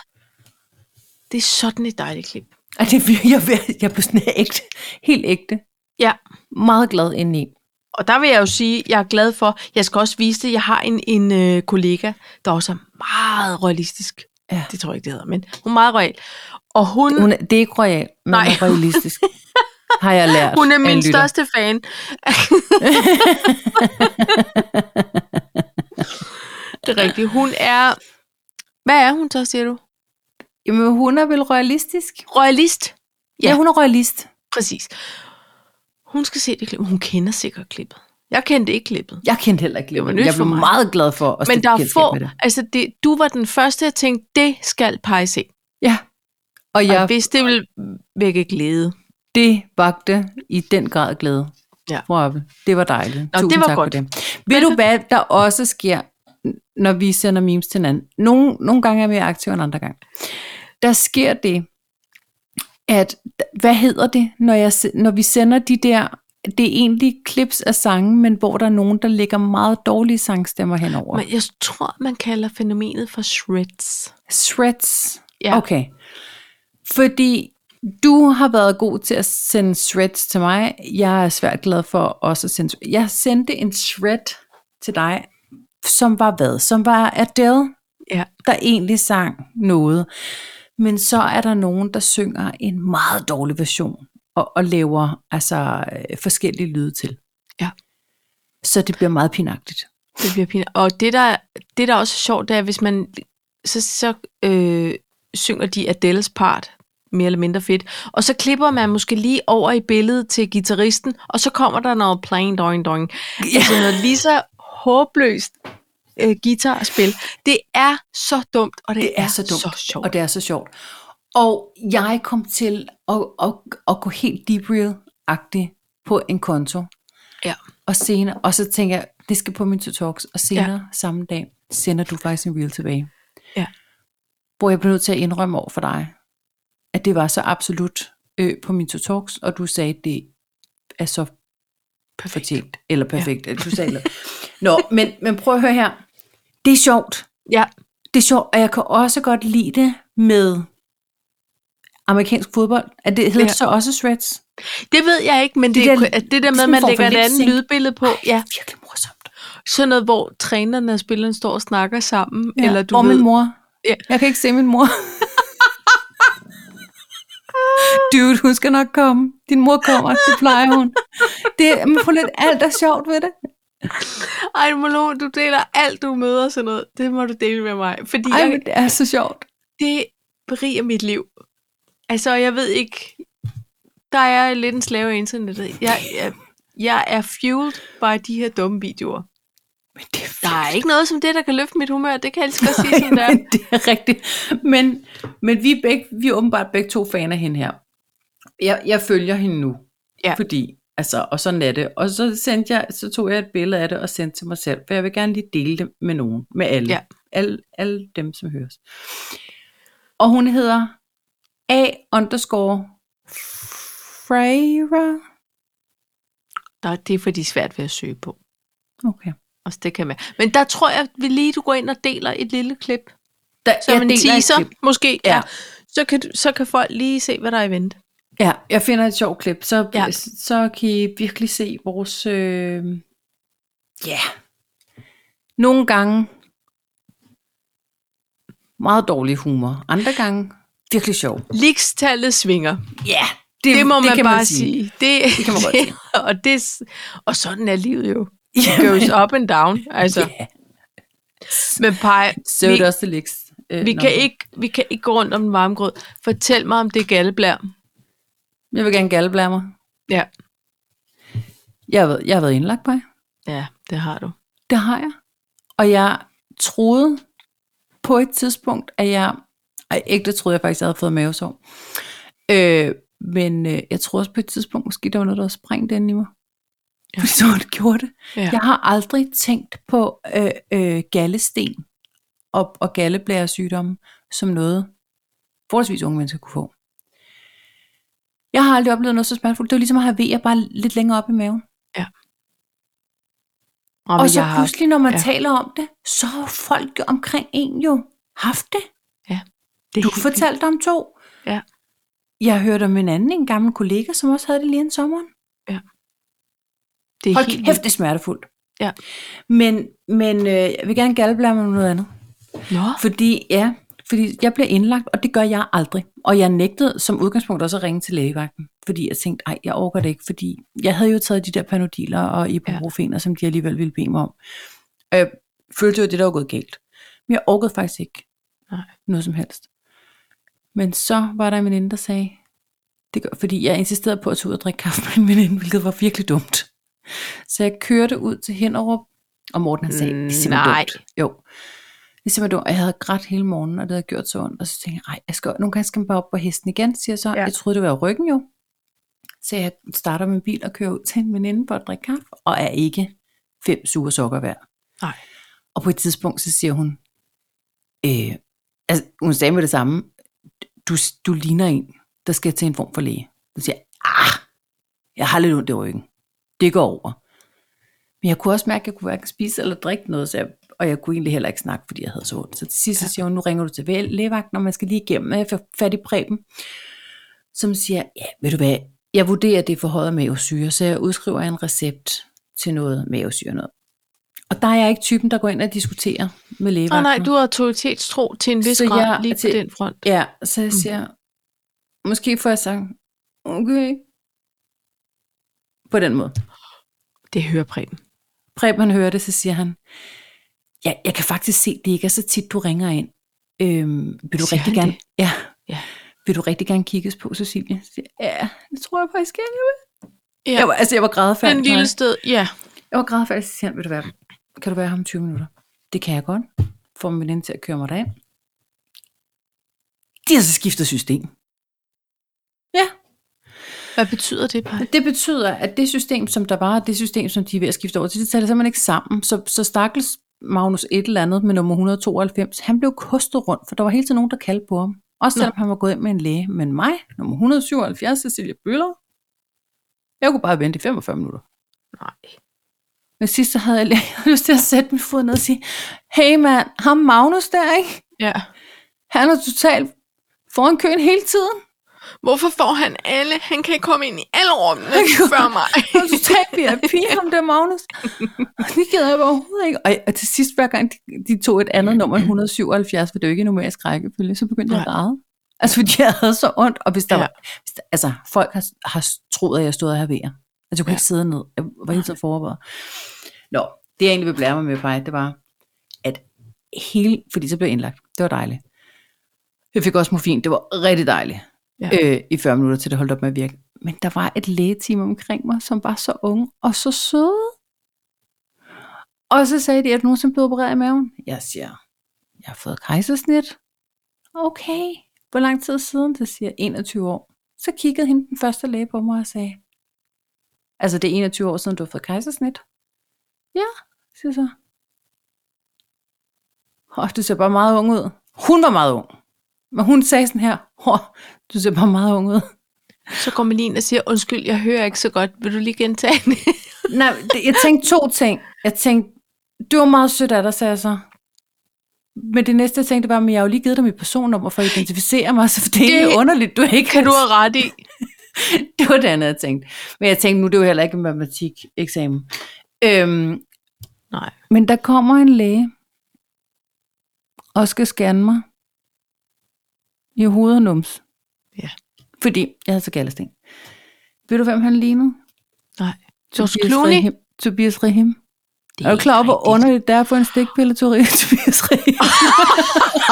[SPEAKER 1] det er sådan et dejligt klip.
[SPEAKER 2] Ej, det vil jeg være. Jeg blev sådan ægte. Helt ægte.
[SPEAKER 1] Ja,
[SPEAKER 2] Meget glad indeni.
[SPEAKER 1] og der vil jeg jo sige, at jeg er glad for, jeg skal også vise det, jeg har en, en øh, kollega, der også er meget realistisk.
[SPEAKER 2] Ja.
[SPEAKER 1] Det tror jeg ikke, det hedder, men hun er meget real. Og hun, hun,
[SPEAKER 2] Hun er, det er ikke royal, men
[SPEAKER 1] Nej.
[SPEAKER 2] Nej. er realistisk. Har jeg lært.
[SPEAKER 1] hun er
[SPEAKER 2] af en
[SPEAKER 1] min
[SPEAKER 2] lytter.
[SPEAKER 1] største fan. det er rigtigt. Hun er, hvad er hun så, siger du?
[SPEAKER 2] Jamen, hun er vel realistisk?
[SPEAKER 1] Royalist.
[SPEAKER 2] Ja, ja hun er royalist.
[SPEAKER 1] Præcis. Hun skal se det klip. Hun kender sikkert klippet. Jeg kendte ikke klippet.
[SPEAKER 2] Jeg kendte heller ikke
[SPEAKER 1] var
[SPEAKER 2] Glimmer.
[SPEAKER 1] nyt
[SPEAKER 2] Jeg
[SPEAKER 1] for
[SPEAKER 2] blev
[SPEAKER 1] mig.
[SPEAKER 2] meget glad for at
[SPEAKER 1] Men
[SPEAKER 2] stifte
[SPEAKER 1] der er
[SPEAKER 2] bekendtskab
[SPEAKER 1] få,
[SPEAKER 2] med det.
[SPEAKER 1] altså det, du var den første, jeg tænkte, det skal pege se.
[SPEAKER 2] Ja. Og
[SPEAKER 1] Og
[SPEAKER 2] jeg,
[SPEAKER 1] hvis det vil vække glæde.
[SPEAKER 2] det vagte i den grad glæde.
[SPEAKER 1] Ja.
[SPEAKER 2] Fru Appel, det var dejligt.
[SPEAKER 1] Nå,
[SPEAKER 2] Tusind
[SPEAKER 1] det var
[SPEAKER 2] tak
[SPEAKER 1] godt.
[SPEAKER 2] For det. Ved du hvad, der også sker, når vi sender memes til hinanden? Nogle, nogle gange er vi aktive end andre gange. Der sker det, at, hvad hedder det, når, jeg, se- når vi sender de der, det er egentlig klips af sange, men hvor der er nogen, der lægger meget dårlige sangstemmer henover.
[SPEAKER 1] Men jeg tror, man kalder fænomenet for shreds.
[SPEAKER 2] Shreds.
[SPEAKER 1] Ja.
[SPEAKER 2] Okay. Fordi Du har været god til at sende shreds til mig. Jeg er svært glad for også at sende Jeg sendte en shred til dig, som var hvad? Som var Adele,
[SPEAKER 1] Ja.
[SPEAKER 2] der egentlig sang noget. Men så er der nogen, der synger en meget dårlig version og, og laver altså øh, forskellige lyde til.
[SPEAKER 1] Ja.
[SPEAKER 2] Så det bliver meget pinagtigt.
[SPEAKER 1] Det bliver pinligt. Og det der, det der også er sjovt, det er, hvis man så, så øh, synger de Adeles part mere eller mindre fedt. Og så klipper man måske lige over i billedet til gitarristen, og så kommer der noget playing doing doing. Ja. Altså noget lige så håbløst øh, guitarspil. Det er så dumt, og det,
[SPEAKER 2] Det er så dumt,
[SPEAKER 1] så sjovt.
[SPEAKER 2] og det er så sjovt. Og jeg kom til at, at, at gå helt deep agtig på en konto.
[SPEAKER 1] Ja.
[SPEAKER 2] Og senere, og så tænker jeg, det skal på min to talks, og senere ja. samme dag sender du faktisk en reel tilbage.
[SPEAKER 1] Ja.
[SPEAKER 2] Hvor jeg blev nødt til at indrømme over for dig, at det var så absolut øh, på min to talks, og du sagde, at det er så
[SPEAKER 1] Perfekt.
[SPEAKER 2] fortjent, eller perfekt, ja. du sagde noget. Nå, men, men prøv at høre her. Det er sjovt,
[SPEAKER 1] Ja,
[SPEAKER 2] det er sjovt, og jeg kan også godt lide det med amerikansk fodbold. At det hedder
[SPEAKER 1] Ja.
[SPEAKER 2] ja. så også shreds.
[SPEAKER 1] det ved jeg ikke, men
[SPEAKER 2] Det
[SPEAKER 1] det, det,
[SPEAKER 2] der-
[SPEAKER 1] der, det der med,
[SPEAKER 2] sådan
[SPEAKER 1] at
[SPEAKER 2] en
[SPEAKER 1] man
[SPEAKER 2] form
[SPEAKER 1] lægger
[SPEAKER 2] for
[SPEAKER 1] et
[SPEAKER 2] lip
[SPEAKER 1] andet
[SPEAKER 2] sync.
[SPEAKER 1] lydbillede på, ja,
[SPEAKER 2] Virkelig morsomt.
[SPEAKER 1] sådan noget, hvor trænerne og spillerne står og snakker sammen,
[SPEAKER 2] Ja.
[SPEAKER 1] ja. eller du
[SPEAKER 2] og
[SPEAKER 1] ved,
[SPEAKER 2] min mor.
[SPEAKER 1] Ja.
[SPEAKER 2] Ja. Jeg kan ikke se min mor. Dude, hun skal nok komme. Din mor kommer, det plejer hun. Det, men prøv lidt, alt er sjovt ved det.
[SPEAKER 1] Ej, Molo, du deler alt, du møder og sådan noget. Det må du dele med mig. Fordi Ej,
[SPEAKER 2] Ej,
[SPEAKER 1] jeg,
[SPEAKER 2] men det er så sjovt.
[SPEAKER 1] det beriger mit liv. Altså, jeg ved ikke... Der er jeg lidt en slave af internettet. Jeg, jeg, jeg er fueled by de her dumme videoer.
[SPEAKER 2] Men det er
[SPEAKER 1] Der er ikke noget som det, der kan løfte mit humør. Det kan jeg lige så godt sige, som det er.
[SPEAKER 2] men det er rigtigt. Men, men vi, er begge, vi er åbenbart begge to fan af hende her. Jeg, jeg følger hende nu.
[SPEAKER 1] Ja.
[SPEAKER 2] Fordi, altså, og sådan er det. Og så, sendte jeg, så tog jeg et billede af det og sendte til mig selv, for jeg vil gerne lige dele det med nogen, med alle.
[SPEAKER 1] Ja.
[SPEAKER 2] Alle, alle dem, som høres. Og hun hedder A underscore Freira.
[SPEAKER 1] Der, det er fordi det er svært ved at søge på.
[SPEAKER 2] Okay.
[SPEAKER 1] Også det kan man. Men der tror jeg, vi lige du går ind og deler et lille klip.
[SPEAKER 2] Der,
[SPEAKER 1] Som en teaser,
[SPEAKER 2] klip.
[SPEAKER 1] måske.
[SPEAKER 2] Ja.
[SPEAKER 1] Ja. Så, kan, du- så kan folk lige se, hvad der er i vente.
[SPEAKER 2] Ja, jeg finder et sjovt klip, så,
[SPEAKER 1] Ja.
[SPEAKER 2] ja. så kan I virkelig se vores... øh, Ja. Øh, yeah. Nogle gange meget dårlig humor, andre gange virkelig sjov.
[SPEAKER 1] Likstallet svinger.
[SPEAKER 2] Ja, yeah,
[SPEAKER 1] det, det må man bare sige. Det,
[SPEAKER 2] Det kan man godt sige.
[SPEAKER 1] og, det, og sådan er livet jo. It
[SPEAKER 2] Ja,
[SPEAKER 1] goes up and down. Altså.
[SPEAKER 2] Ja.
[SPEAKER 1] Men Paj,
[SPEAKER 2] så er
[SPEAKER 1] vi,
[SPEAKER 2] det også det læks. Øh,
[SPEAKER 1] vi,
[SPEAKER 2] nå.
[SPEAKER 1] kan ikke, vi kan ikke gå rundt om den varme grød. Fortæl mig om det galdeblær.
[SPEAKER 2] Jeg vil gerne galblære mig.
[SPEAKER 1] Ja.
[SPEAKER 2] Jeg har, været, jeg har været indlagt på
[SPEAKER 1] ja, det har du.
[SPEAKER 2] Det har jeg. Og jeg troede på et tidspunkt, at jeg... Ej, ikke det troede jeg faktisk, jeg havde fået mavesår. Øh, men øh, jeg troede også på et tidspunkt, måske der var noget, der var sprængt inde i mig.
[SPEAKER 1] Ja.
[SPEAKER 2] Ja. Så det gjorde det.
[SPEAKER 1] Ja.
[SPEAKER 2] Ja. Jeg har aldrig tænkt på øh, øh, gallesten og, og galleblæresygdomme som noget, forholdsvis unge mennesker kunne få. Jeg har aldrig oplevet noget så smertefuldt. Det var ligesom at have vejer bare lidt længere op i maven.
[SPEAKER 1] Om
[SPEAKER 2] Og så
[SPEAKER 1] jeg har,
[SPEAKER 2] pludselig, når man
[SPEAKER 1] ja.
[SPEAKER 2] ja. taler om det, så har folk jo omkring en jo haft det.
[SPEAKER 1] det er
[SPEAKER 2] Du
[SPEAKER 1] helt
[SPEAKER 2] fortalte om to.
[SPEAKER 1] Ja.
[SPEAKER 2] Jeg hørte om en anden, en gammel kollega, som også havde det lige en sommeren.
[SPEAKER 1] vildt. Det er
[SPEAKER 2] Hold
[SPEAKER 1] helt
[SPEAKER 2] kæft, det er smertefuldt.
[SPEAKER 1] Ja.
[SPEAKER 2] Men, men øh, jeg vil gerne galdeblande mig med noget andet.
[SPEAKER 1] vildt. Nå,
[SPEAKER 2] Fordi, ja, fordi jeg bliver indlagt, og det gør jeg aldrig. Og jeg nægtede som udgangspunkt også at ringe til lægevagten, fordi jeg tænkte, ej, jeg overgår det ikke, fordi jeg havde jo taget de der panodiler og ibuprofener, ja. som de alligevel ville bede mig om. Og jeg følte jo, at det der var gået galt. Men jeg overgåede faktisk ikke
[SPEAKER 1] Nej.
[SPEAKER 2] noget som helst. Men så var der en veninde, der sagde, det gør, fordi jeg insisterede på at tage ud og drikke kaffe med en veninde, hvilket var virkelig dumt. Så jeg kørte ud til Hinderup, og Morten han sagde, det er simpelthen
[SPEAKER 1] Nej.
[SPEAKER 2] dumt. Jo. Det er simpelthen dumt, og jeg havde grædt hele morgenen, og det havde gjort så ondt. Og så tænkte jeg, ej, jeg skal, nogle gange skal man bare op på hesten igen, siger jeg så.
[SPEAKER 1] Ja.
[SPEAKER 2] Ja. Jeg troede, det var ryggen jo. Så jeg starter min bil og kører ud til en veninde for at drikke kaffe, og er ikke fem sure sokker værd.
[SPEAKER 1] nej.
[SPEAKER 2] Og på et tidspunkt, så siger hun, øh, altså, hun sagde med det samme, du, du ligner en, der skal til en form for læge. Så siger jeg, ah, jeg har lidt ondt i ryggen. Det går over. Men jeg kunne også mærke, at jeg kunne hverken spise eller drikke noget, så jeg, og jeg kunne egentlig heller ikke snakke, fordi jeg havde øh, så ondt. Så til sidst så siger hun, nu ringer du til væ- lægevagten, og man skal lige igennem, og jeg får fat i Preben. som siger, ja, ved du hvad, jeg vurderer, at det er forhøjet mavesyre, så jeg udskriver en recept til noget mavesyre noget. Og der er jeg ikke typen, der går ind og diskuterer med
[SPEAKER 1] Åh oh,
[SPEAKER 2] lægevagten.
[SPEAKER 1] nej, du har autoritetstro til en vis
[SPEAKER 2] Så
[SPEAKER 1] grad
[SPEAKER 2] jeg-
[SPEAKER 1] lige på
[SPEAKER 2] til-
[SPEAKER 1] den front.
[SPEAKER 2] Ja, så
[SPEAKER 1] Mm.
[SPEAKER 2] jeg siger, måske får jeg sagt, okay. På den måde.
[SPEAKER 1] Det hører Preben.
[SPEAKER 2] Preben hører det, så siger han, ja, jeg kan faktisk se, det ikke er så tit, du ringer ind. Øhm, vil du
[SPEAKER 1] Siger
[SPEAKER 2] rigtig
[SPEAKER 1] han
[SPEAKER 2] gerne...
[SPEAKER 1] det?
[SPEAKER 2] Ja.
[SPEAKER 1] Ja.
[SPEAKER 2] Vil du rigtig gerne kigges på, Cecilie? Så siger jeg, ja, det tror jeg faktisk gerne, jeg vil.
[SPEAKER 1] Ja.
[SPEAKER 2] Jeg var, altså, jeg var grædefærdig.
[SPEAKER 1] Den lille sted, ja.
[SPEAKER 2] Jeg var grædefærdig, så siger han, vil du være, kan du være her om 20 minutter? Det kan jeg godt. Får min veninde til at køre mig derind. De har så skiftet system. Ja,
[SPEAKER 1] Hvad betyder det, Paj?
[SPEAKER 2] det betyder, at det system, som der var, og det system, som de er ved at skifte over til, det taler simpelthen ikke sammen. Så, så stakkels Magnus et eller andet med nummer 192, han blev kostet rundt, for der var hele tiden nogen, der kaldte på ham. Også
[SPEAKER 1] Nå.
[SPEAKER 2] selvom han var gået ind med en læge. Men mig, nummer 177, Cecilia Bøller, jeg kunne bare vente i 45 minutter.
[SPEAKER 1] Nej.
[SPEAKER 2] Men sidst så havde jeg, jeg havde lyst til at sætte min fod ned og sige, hey mand, ham Magnus der, ikke?
[SPEAKER 1] Ja.
[SPEAKER 2] Han er totalt foran køen hele tiden.
[SPEAKER 1] Hvorfor får han alle? Han kan ikke komme ind i alle rummene før mig.
[SPEAKER 2] Han er totalt VIP, ham der Magnus. Og det gider jeg bare overhovedet ikke. Og, og til sidst, hver gang de, de tog et andet nummer end 177, for det er jo ikke en numerisk rækkefølge, så begyndte jeg at græde. Altså, fordi jeg havde så ondt. Og hvis der
[SPEAKER 1] Ja.
[SPEAKER 2] ja. var, hvis der, altså, folk har, har troet, at jeg stod og havde vejr. Altså, jeg kunne
[SPEAKER 1] Ja.
[SPEAKER 2] ja. ikke sidde ned. Jeg var helt så forberedt. Nå, det jeg egentlig vil blære mig med, Paj, det var, at hele, fordi så blev jeg indlagt. Det var dejligt. Jeg fik også morfin. Det var rigtig dejligt øh, i 40 minutter, til det holdt op med at virke. Men der var et lægeteam omkring mig, som var så unge og så søde. Og så sagde de, at du nogensinde blevet opereret i maven? Jeg siger, jeg har fået kejsersnit. Okay, hvor lang tid siden? Det siger jeg, 21 år. Så kiggede hende den første læge på mig og sagde, altså det er 21 år siden, du har fået kejsersnit. Ja, siger jeg så. Åh, du ser bare meget ung ud. Hun var meget ung. Men hun sagde sådan her, åh, du ser bare meget ung ud.
[SPEAKER 1] Så går man lige ind og siger, undskyld, jeg hører ikke så godt. Vil du lige gentage det?
[SPEAKER 2] Nej, det, jeg tænkte to ting. Jeg tænkte, du var meget sødt af dig, sagde jeg så. Men det næste, jeg tænkte, var, men jeg har jo lige givet dig mit personnummer for at identificere mig, så det er
[SPEAKER 1] Det
[SPEAKER 2] egentlig underligt, du ikke
[SPEAKER 1] Kan du have ret i?
[SPEAKER 2] Det var det andet, jeg tænkte. Men jeg tænkte, nu er det jo heller ikke en matematikeksamen. Øhm,
[SPEAKER 1] Nej.
[SPEAKER 2] men der kommer en læge og skal scanne mig i hovedet og nums.
[SPEAKER 1] Ja.
[SPEAKER 2] Fordi jeg havde så galdesten. Ved du, hvem han lignede?
[SPEAKER 1] Nej. George Clooney?
[SPEAKER 2] Rahim. Tobias Rahim.
[SPEAKER 1] Det
[SPEAKER 2] Er du
[SPEAKER 1] ikke
[SPEAKER 2] klar over, hvor
[SPEAKER 1] rigtigt.
[SPEAKER 2] underligt det er på en stikpille, Tobias Rahim?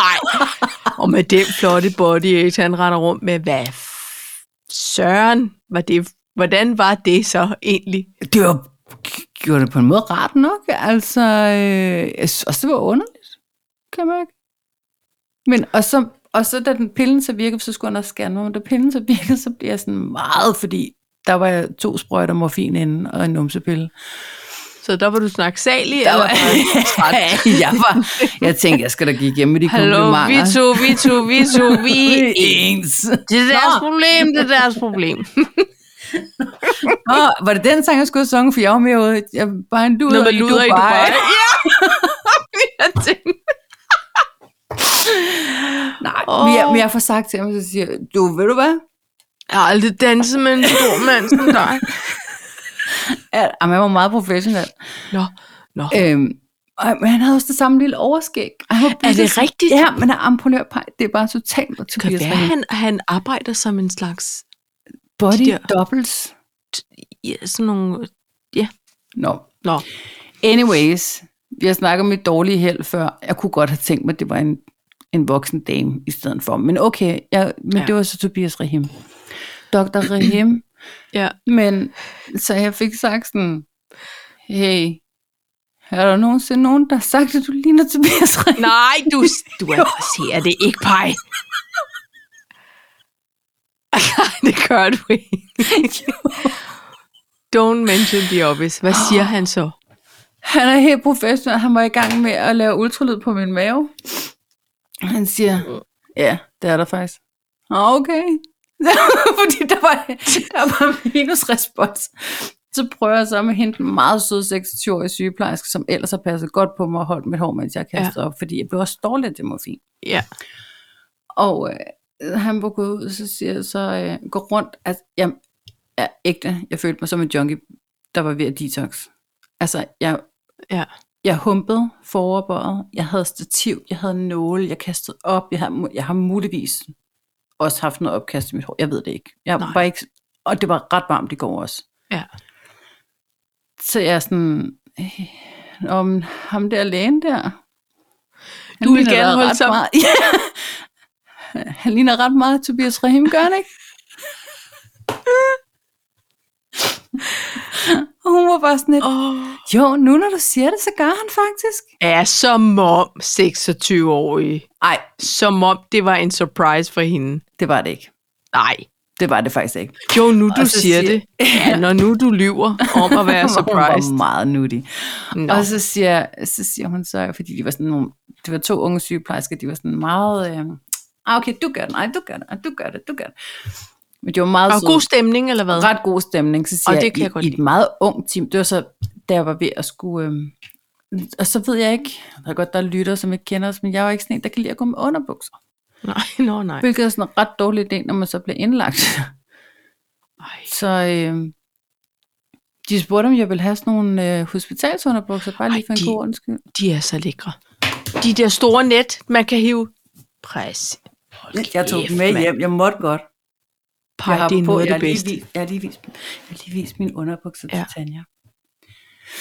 [SPEAKER 1] Nej. Og med den flotte body, ikke, han render rundt med, hvad f- søren var det? Hvordan var det så egentlig?
[SPEAKER 2] det var, gjorde det på en måde rart nok. Altså, øh, jeg synes også, det var underligt, kan man ikke? Men, og så, og så da den pillen så virkede, så skulle han også scanne mig, men da pillen så virkede, så blev jeg sådan meget, fordi der var jeg to sprøjter morfin inden, og en numsepille.
[SPEAKER 1] Så der var du snaksalig, eller
[SPEAKER 2] Der var-
[SPEAKER 1] var du træt?
[SPEAKER 2] jeg, var, jeg tænkte, jeg skal da gik hjem med de
[SPEAKER 1] Hallo, vi
[SPEAKER 2] komplimenter.
[SPEAKER 1] to, vi to, vi to, vi
[SPEAKER 2] Vi er
[SPEAKER 1] en.
[SPEAKER 2] ens.
[SPEAKER 1] Det er deres
[SPEAKER 2] Nå.
[SPEAKER 1] problem, det er deres problem.
[SPEAKER 2] Nå, var det den sang, jeg skulle have sunget, for jeg var mere ude. Jeg var bare en luder,
[SPEAKER 1] Når man luder i Dubai. Ja! Jeg tænkte,
[SPEAKER 2] Nej,
[SPEAKER 1] Åh.
[SPEAKER 2] oh. men, jeg, men jeg får sagt til ham, så siger jeg, du, ved du hvad?
[SPEAKER 1] Jeg har aldrig danset med en stor mand som dig.
[SPEAKER 2] Ja, jamen, jeg ah, var meget professionel.
[SPEAKER 1] Nå, nå.
[SPEAKER 2] Øhm, og, men han havde også det samme lille overskæg. Og han var
[SPEAKER 1] Er det
[SPEAKER 2] bitte-
[SPEAKER 1] rigtigt?
[SPEAKER 2] Ja, men er ampolørpej. Det er bare totalt og
[SPEAKER 1] Kan
[SPEAKER 2] Tobias
[SPEAKER 1] være, han, han arbejder som en slags,
[SPEAKER 2] body
[SPEAKER 1] de der-
[SPEAKER 2] doubles.
[SPEAKER 1] ja, sådan nogle...
[SPEAKER 2] Nå.
[SPEAKER 1] Nå,
[SPEAKER 2] Anyways, vi har snakket om mit dårlige held før. Jeg kunne godt have tænkt mig, at det var en, en voksen dame i stedet for. Men okay, jeg, men
[SPEAKER 1] Ja.
[SPEAKER 2] ja. det var så Tobias Rahim. Dr. Rahim.
[SPEAKER 1] ja.
[SPEAKER 2] Men så jeg fik sagt sådan, hey, er der nogensinde nogen, der har sagt, at du ligner Tobias Rahim?
[SPEAKER 1] Nej, du, du adresserer det ikke, Paj. Nej, det gør du ikke. Don't mention the obvious. Hvad siger han så?
[SPEAKER 2] Han er helt professionel. Han var i gang med at lave ultralyd på min mave. Han siger, ja, det er der faktisk. Nå, Okay. Fordi der var, der var minusrespons. Så prøver jeg så med hende den meget søde 26-årige sygeplejerske, som ellers har passet godt på mig og holdt mit hår, mens jeg kastede ja. op, fordi jeg blev også dårlig af det morfin.
[SPEAKER 1] Ja.
[SPEAKER 2] Og øh, han var gået ud, så siger jeg så, øh, gå rundt. Altså, jeg, jeg, ægte, jeg følte mig som en junkie, der var ved at detox. Altså, jeg,
[SPEAKER 1] Ja.
[SPEAKER 2] jeg humpede foroverbøjet, jeg havde stativ, jeg havde nåle, jeg kastede op, jeg har, mu- jeg har muligvis også haft noget opkast i mit hår, jeg ved det ikke. Jeg
[SPEAKER 1] Nej.
[SPEAKER 2] var ikke. Og det var ret varmt i går også.
[SPEAKER 1] Ja.
[SPEAKER 2] Så jeg er sådan, øh, om ham der lægen der, han
[SPEAKER 1] Du vil
[SPEAKER 2] ligner
[SPEAKER 1] gerne
[SPEAKER 2] da
[SPEAKER 1] holde
[SPEAKER 2] ret
[SPEAKER 1] sammen.
[SPEAKER 2] meget- Ja. Han ligner ret meget Tobias Rahim, gør han ikke? Og hun var bare sådan lidt,
[SPEAKER 1] Oh.
[SPEAKER 2] jo, nu når du siger det, så gør han faktisk.
[SPEAKER 1] Ja, som om 26-årig.
[SPEAKER 2] Nej,
[SPEAKER 1] Som om det var en surprise for hende.
[SPEAKER 2] det var det ikke.
[SPEAKER 1] Nej.
[SPEAKER 2] Det var det faktisk ikke.
[SPEAKER 1] Jo, nu du
[SPEAKER 2] Og så
[SPEAKER 1] siger
[SPEAKER 2] siger-
[SPEAKER 1] det. Ja, når nu du lyver om at være surprised.
[SPEAKER 2] Hun var meget nuttig.
[SPEAKER 1] Nå.
[SPEAKER 2] Nå. Og så siger, så siger hun så, fordi de var sådan nogle, det var to unge sygeplejersker, de var sådan meget, øh, ah, okay, du gør det, nej, du gør det, ah, du gør det, du gør det. Men de var meget
[SPEAKER 1] Og
[SPEAKER 2] søde.
[SPEAKER 1] god stemning, eller hvad?
[SPEAKER 2] ret god stemning, så siger
[SPEAKER 1] Og det
[SPEAKER 2] jeg,
[SPEAKER 1] kan jeg godt
[SPEAKER 2] i, i et
[SPEAKER 1] lide.
[SPEAKER 2] meget ung team, det var så, da jeg var ved at skulle, øhm, og så ved jeg ikke, der er godt, der er lytter, som ikke kender os, men jeg var ikke sådan en, der kan lide at gå med underbukser.
[SPEAKER 1] Nej, nå, nej.
[SPEAKER 2] Hvilket er sådan en ret dårlig idé, når man så bliver indlagt.
[SPEAKER 1] Ej.
[SPEAKER 2] Så øh, de spurgte, om jeg ville have sådan nogle øh, hospitalsunderbukser, bare lige
[SPEAKER 1] Ej,
[SPEAKER 2] for en
[SPEAKER 1] de-
[SPEAKER 2] god ordens skyld.
[SPEAKER 1] De er så lækre. De der store net, man kan hive. Præcis. Hold kæft, mand.
[SPEAKER 2] jeg måtte godt.
[SPEAKER 1] Pej, det er noget af det bedste.
[SPEAKER 2] Lige, jeg, har lige vist, jeg har lige vist mine underbukser
[SPEAKER 1] Ja.
[SPEAKER 2] til Tanja.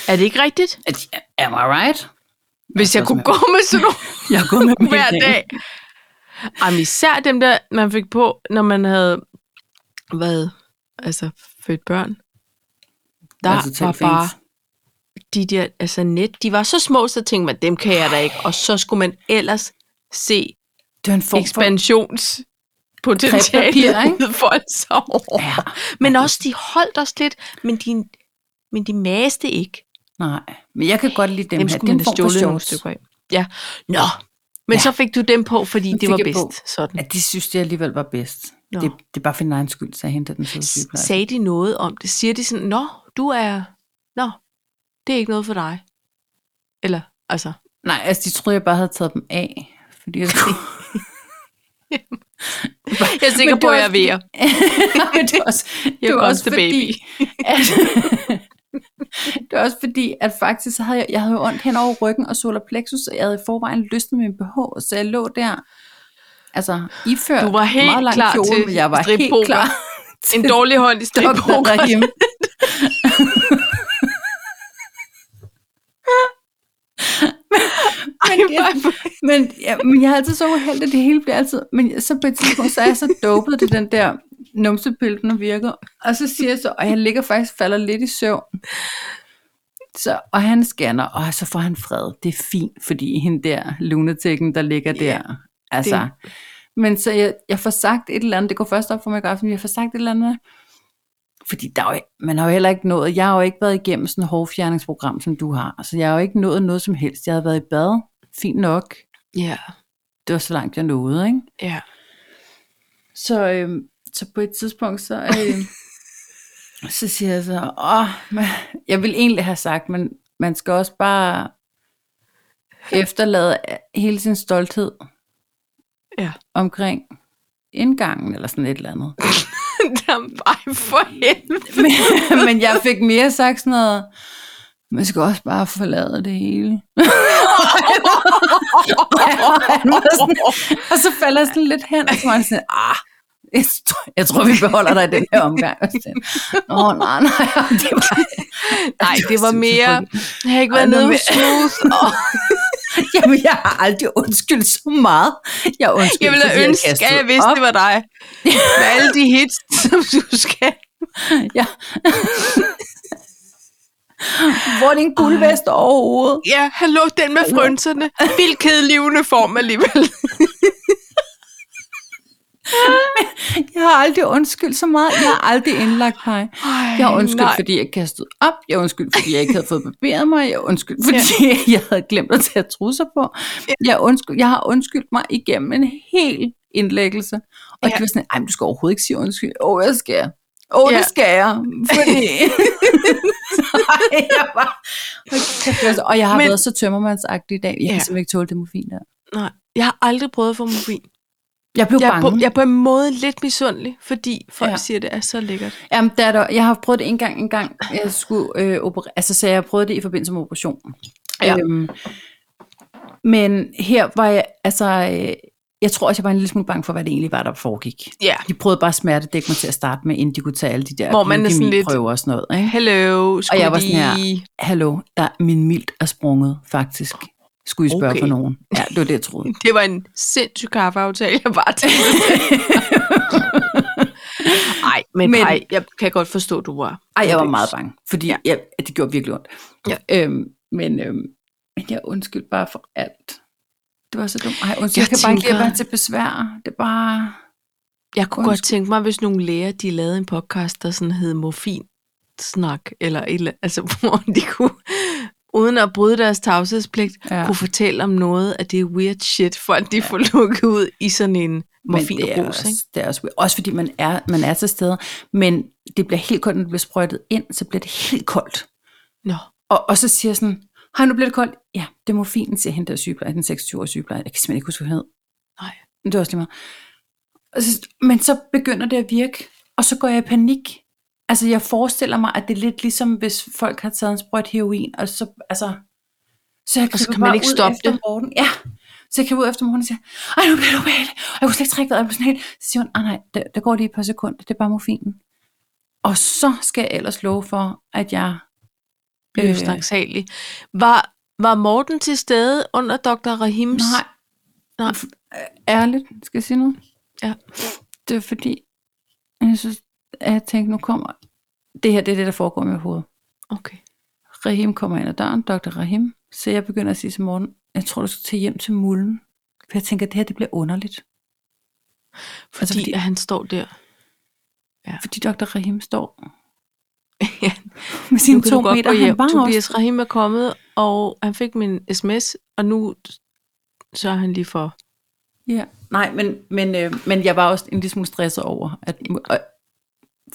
[SPEAKER 1] Er det ikke rigtigt?
[SPEAKER 2] Am I right?
[SPEAKER 1] Hvis jeg
[SPEAKER 2] så
[SPEAKER 1] kunne
[SPEAKER 2] smager
[SPEAKER 1] gå med sådan nogle
[SPEAKER 2] Jeg har gået med dem
[SPEAKER 1] hver
[SPEAKER 2] hele dagen.
[SPEAKER 1] dag. Jamen, især dem der, man fik på, når man havde været, altså født børbørn. Der
[SPEAKER 2] Altså,
[SPEAKER 1] altså,
[SPEAKER 2] totalt
[SPEAKER 1] var
[SPEAKER 2] fint.
[SPEAKER 1] bare de der, altså net, de var så små, så tænkte man, dem kan jeg da ikke. Og så skulle man ellers se
[SPEAKER 2] Det var en form for...
[SPEAKER 1] ekspansionspotentialet
[SPEAKER 2] Krebspapir, ikke?
[SPEAKER 1] udfolde sig over.
[SPEAKER 2] Ja.
[SPEAKER 1] Men også, de holdt os lidt, men de, men de maste ikke.
[SPEAKER 2] Nej, men jeg kan godt lide dem,
[SPEAKER 1] Dem
[SPEAKER 2] her.
[SPEAKER 1] skulle
[SPEAKER 2] Det er
[SPEAKER 1] man have
[SPEAKER 2] en form for
[SPEAKER 1] stjålet nogle
[SPEAKER 2] shorts.
[SPEAKER 1] stykker af. Ja. Nå, men
[SPEAKER 2] Ja.
[SPEAKER 1] så fik du dem på, fordi
[SPEAKER 2] Dem
[SPEAKER 1] det var
[SPEAKER 2] fik jeg på.
[SPEAKER 1] bedst. Sådan.
[SPEAKER 2] Ja, de synes, det alligevel var bedst.
[SPEAKER 1] Nå.
[SPEAKER 2] Det, det, er bare for min egen skyld, så jeg henter den søde sygeplejerske.
[SPEAKER 1] Sagde de noget om det? Siger de sådan, nå, du er, nå, det er ikke noget for dig? Eller, altså,
[SPEAKER 2] Nej, altså, de troede, jeg bare havde taget dem af. Fordi jeg
[SPEAKER 1] jeg er sikker
[SPEAKER 2] det
[SPEAKER 1] på,
[SPEAKER 2] var
[SPEAKER 1] at jeg er
[SPEAKER 2] fordi-
[SPEAKER 1] ved jer.
[SPEAKER 2] Men det er også,
[SPEAKER 1] Jeg
[SPEAKER 2] det er
[SPEAKER 1] kom
[SPEAKER 2] også
[SPEAKER 1] til
[SPEAKER 2] fordi, at, det er også fordi, at faktisk så havde jeg, jeg havde jo ondt hen over ryggen og solar plexus, og jeg havde i forvejen løsnet min BH, så jeg lå der, altså iført
[SPEAKER 1] Du var helt
[SPEAKER 2] meget lang
[SPEAKER 1] klar
[SPEAKER 2] kjole,
[SPEAKER 1] til
[SPEAKER 2] men jeg var
[SPEAKER 1] strippoker.
[SPEAKER 2] helt klar
[SPEAKER 1] En dårlig hånd i
[SPEAKER 2] Dr.
[SPEAKER 1] strikpoker.
[SPEAKER 2] Rahim.
[SPEAKER 1] Ej,
[SPEAKER 2] Men det-
[SPEAKER 1] hvor-
[SPEAKER 2] Men, ja, men jeg er altid så uheldig, at det hele bliver altid... Men så på et tidspunkt, så er jeg så dopet til den der numsepille, den virker. Og så siger jeg så, og jeg ligger faktisk falder lidt i søvn. Så, og han scanner, og så får han fred. Det er fint, fordi hende der, lunatikken, der ligger
[SPEAKER 1] Ja,
[SPEAKER 2] der. Altså, det. Men så jeg, jeg får sagt et eller andet, det går først op for mig i går aften, men jeg får sagt et eller andet, fordi der er jo, man har jo heller ikke nået, jeg har jo ikke været igennem sådan et hårfjerningsprogram, som du har, så jeg har jo ikke nået noget som helst. Jeg har været i bad, fint nok,
[SPEAKER 1] Ja,
[SPEAKER 2] det var så langt jeg nåede, ikke?
[SPEAKER 1] ja.
[SPEAKER 2] Så, øhm, så på et tidspunkt, så, øhm, så siger jeg så, åh, man, jeg vil egentlig have sagt, men man skal også bare efterlade hele sin stolthed
[SPEAKER 1] Ja.
[SPEAKER 2] omkring indgangen, eller sådan et eller andet.
[SPEAKER 1] Jamen, Ej, for helvede.
[SPEAKER 2] Men, men jeg fik mere sagt sådan noget, man skal også bare forlade det hele. Og så falder jeg sådan lidt hen, og så var jeg sådan, ah, jeg tror, jeg tror, vi beholder dig i den her omgang. Og så sagde jeg, Åh, oh, nej, nej, det var...
[SPEAKER 1] Nej, det var mere, jeg har ikke været
[SPEAKER 2] Ej,
[SPEAKER 1] nede
[SPEAKER 2] noget
[SPEAKER 1] hos Smooth. og
[SPEAKER 2] Jamen, jeg har aldrig undskyldt så meget. Jeg undskyldt,
[SPEAKER 1] Jeg ville have ønsket, at jeg vidste, det var dig. Med alle de hits, som du skal.
[SPEAKER 2] Ja. Hvor er din guldvest over hovedet?
[SPEAKER 1] Ja, hallo, den med frynserne. Vildt kedelig uniform alligevel.
[SPEAKER 2] Jeg har aldrig undskyldt så meget. Jeg har aldrig indlagt mig.
[SPEAKER 1] Ej,
[SPEAKER 2] Jeg har undskyldt,
[SPEAKER 1] nej.
[SPEAKER 2] fordi jeg kastede op. Jeg har undskyldt, fordi jeg ikke havde fået barberet mig. Jeg har undskyldt, fordi ja. jeg havde glemt at tage trusser på. Jeg, undskyld, jeg har undskyldt mig igennem en hel indlæggelse. Og
[SPEAKER 1] Ja.
[SPEAKER 2] ja. det var sådan, ej, men du skal overhovedet ikke sige undskyld. Åh, oh, jeg skal. Åh, oh,
[SPEAKER 1] Ja.
[SPEAKER 2] det skal jeg. Fordi... Ej, jeg var... Hold kæft, det var så- Og jeg har
[SPEAKER 1] Men-
[SPEAKER 2] men... været så tømmermandsagtig i dag. Jeg kan
[SPEAKER 1] Ja.
[SPEAKER 2] simpelthen ikke tåle det morfin der.
[SPEAKER 1] Nej, jeg har aldrig prøvet at få morfin.
[SPEAKER 2] Jeg blev
[SPEAKER 1] Jeg er,
[SPEAKER 2] bange.
[SPEAKER 1] på, jeg er på en måde lidt misundelig, fordi folk
[SPEAKER 2] Ja.
[SPEAKER 1] ja. siger, at det er så lækkert.
[SPEAKER 2] Jamen, der er der, jeg har prøvet det en gang, en gang jeg skulle øh, operere, altså så jeg prøvede det i forbindelse med operationen.
[SPEAKER 1] Ja.
[SPEAKER 2] Øhm, men her var jeg, altså, øh, jeg tror også, jeg var en lille smule bange for, hvad det egentlig var, der foregik.
[SPEAKER 1] Ja.
[SPEAKER 2] De prøvede bare at smertedække mig til at starte med, inden de kunne tage alle de der
[SPEAKER 1] Hvor man er sådan lidt-
[SPEAKER 2] leukemiprøver og sådan noget. Ikke?
[SPEAKER 1] Hello, skulle
[SPEAKER 2] jeg var sådan her,
[SPEAKER 1] lige...
[SPEAKER 2] Hallo, der, min mildt er sprunget, faktisk. Skulle I spørge
[SPEAKER 1] Okay.
[SPEAKER 2] okay. for nogen? Ja, det var det, jeg troede.
[SPEAKER 1] Det var en sindssyg kaffeaftale, jeg bare tænkte. Nej, men,
[SPEAKER 2] Men-
[SPEAKER 1] men... Ej, jeg kan godt forstå, du var.
[SPEAKER 2] Ej, jeg var meget bange, fordi ja.
[SPEAKER 1] Ja.
[SPEAKER 2] jeg, det gjorde virkelig ondt.
[SPEAKER 1] Ja.
[SPEAKER 2] Øhm, men, øhm, men jeg undskyld bare for alt. Det var så dumt. Ej, undskyld, jeg,
[SPEAKER 1] Jeg
[SPEAKER 2] jeg kan bare ikke lide at
[SPEAKER 1] tænker-
[SPEAKER 2] være til besvær. Det er bare...
[SPEAKER 1] Jeg kunne godt
[SPEAKER 2] Undskyld.
[SPEAKER 1] tænke mig, hvis nogle læger, de lavede en podcast, der sådan hed Morfin snak eller et eller altså hvor de kunne, uden at bryde deres tavshedspligt,
[SPEAKER 2] Ja.
[SPEAKER 1] ja. kunne fortælle om noget af det weird shit, for at de ja. får lukket ud i sådan en
[SPEAKER 2] Men
[SPEAKER 1] morfin
[SPEAKER 2] det er,
[SPEAKER 1] rus, ikke?
[SPEAKER 2] også, det er også, også fordi man er, man er til stede, men det bliver helt koldt, når det bliver sprøjtet ind, så bliver det helt koldt.
[SPEAKER 1] Nå.
[SPEAKER 2] Og, og så siger jeg sådan, hej, nu bliver det koldt. Ja, det må fint, siger hende der sygeplejer, den 26-årige sygeplejer. Jeg kan simpelthen ikke huske, hvad hun hed.
[SPEAKER 1] Nej.
[SPEAKER 2] Men det er også lige meget. Og så- Men så begynder det at virke, og så går jeg i panik. Altså, jeg forestiller mig, at det er lidt ligesom, hvis folk har taget en sprøjt heroin, og så, altså, så jeg
[SPEAKER 1] Og så
[SPEAKER 2] kryber
[SPEAKER 1] kan man
[SPEAKER 2] bare
[SPEAKER 1] ikke
[SPEAKER 2] ud
[SPEAKER 1] stoppe
[SPEAKER 2] efter
[SPEAKER 1] det.
[SPEAKER 2] Morten. Ja, så jeg kan ud efter morgenen og siger, ej, nu bliver det ubehageligt, og jeg kunne slet ikke trække vejret, jeg blev sådan helt, så siger hun, "Ah, nej, der, der går lige et par sekunder, det er bare morfinen. Og så skal jeg ellers love for, at jeg
[SPEAKER 1] Øh. Var, var Morten til stede under Dr. Rahims?
[SPEAKER 2] Nej.
[SPEAKER 1] Nej.
[SPEAKER 2] Ærligt, skal jeg sige noget?
[SPEAKER 1] Ja.
[SPEAKER 2] Det er fordi, jeg synes, at jeg tænkte, nu kommer... Det her, det er det, der foregår med hovedet.
[SPEAKER 1] Okay.
[SPEAKER 2] Rahim kommer ind ad døren, Dr. Rahim. Så jeg begynder at sige til morgen, jeg tror, du skal tage hjem til mulden. For jeg tænker, at det her, det bliver underligt.
[SPEAKER 1] Fordi,
[SPEAKER 2] Altså,
[SPEAKER 1] altså,
[SPEAKER 2] fordi-
[SPEAKER 1] fordi... At han står der.
[SPEAKER 2] Fordi Dr. Rahim står
[SPEAKER 1] ja,
[SPEAKER 2] med
[SPEAKER 1] nu
[SPEAKER 2] sine
[SPEAKER 1] kan
[SPEAKER 2] to
[SPEAKER 1] du godt
[SPEAKER 2] meter.
[SPEAKER 1] gå hjem.
[SPEAKER 2] Han var også...
[SPEAKER 1] Tobias Rahim er kommet, og han fik min sms, og nu sørger han lige for...
[SPEAKER 2] Ja. Nej, men, men, øh, men jeg var også en lille smule stresset over, at, og,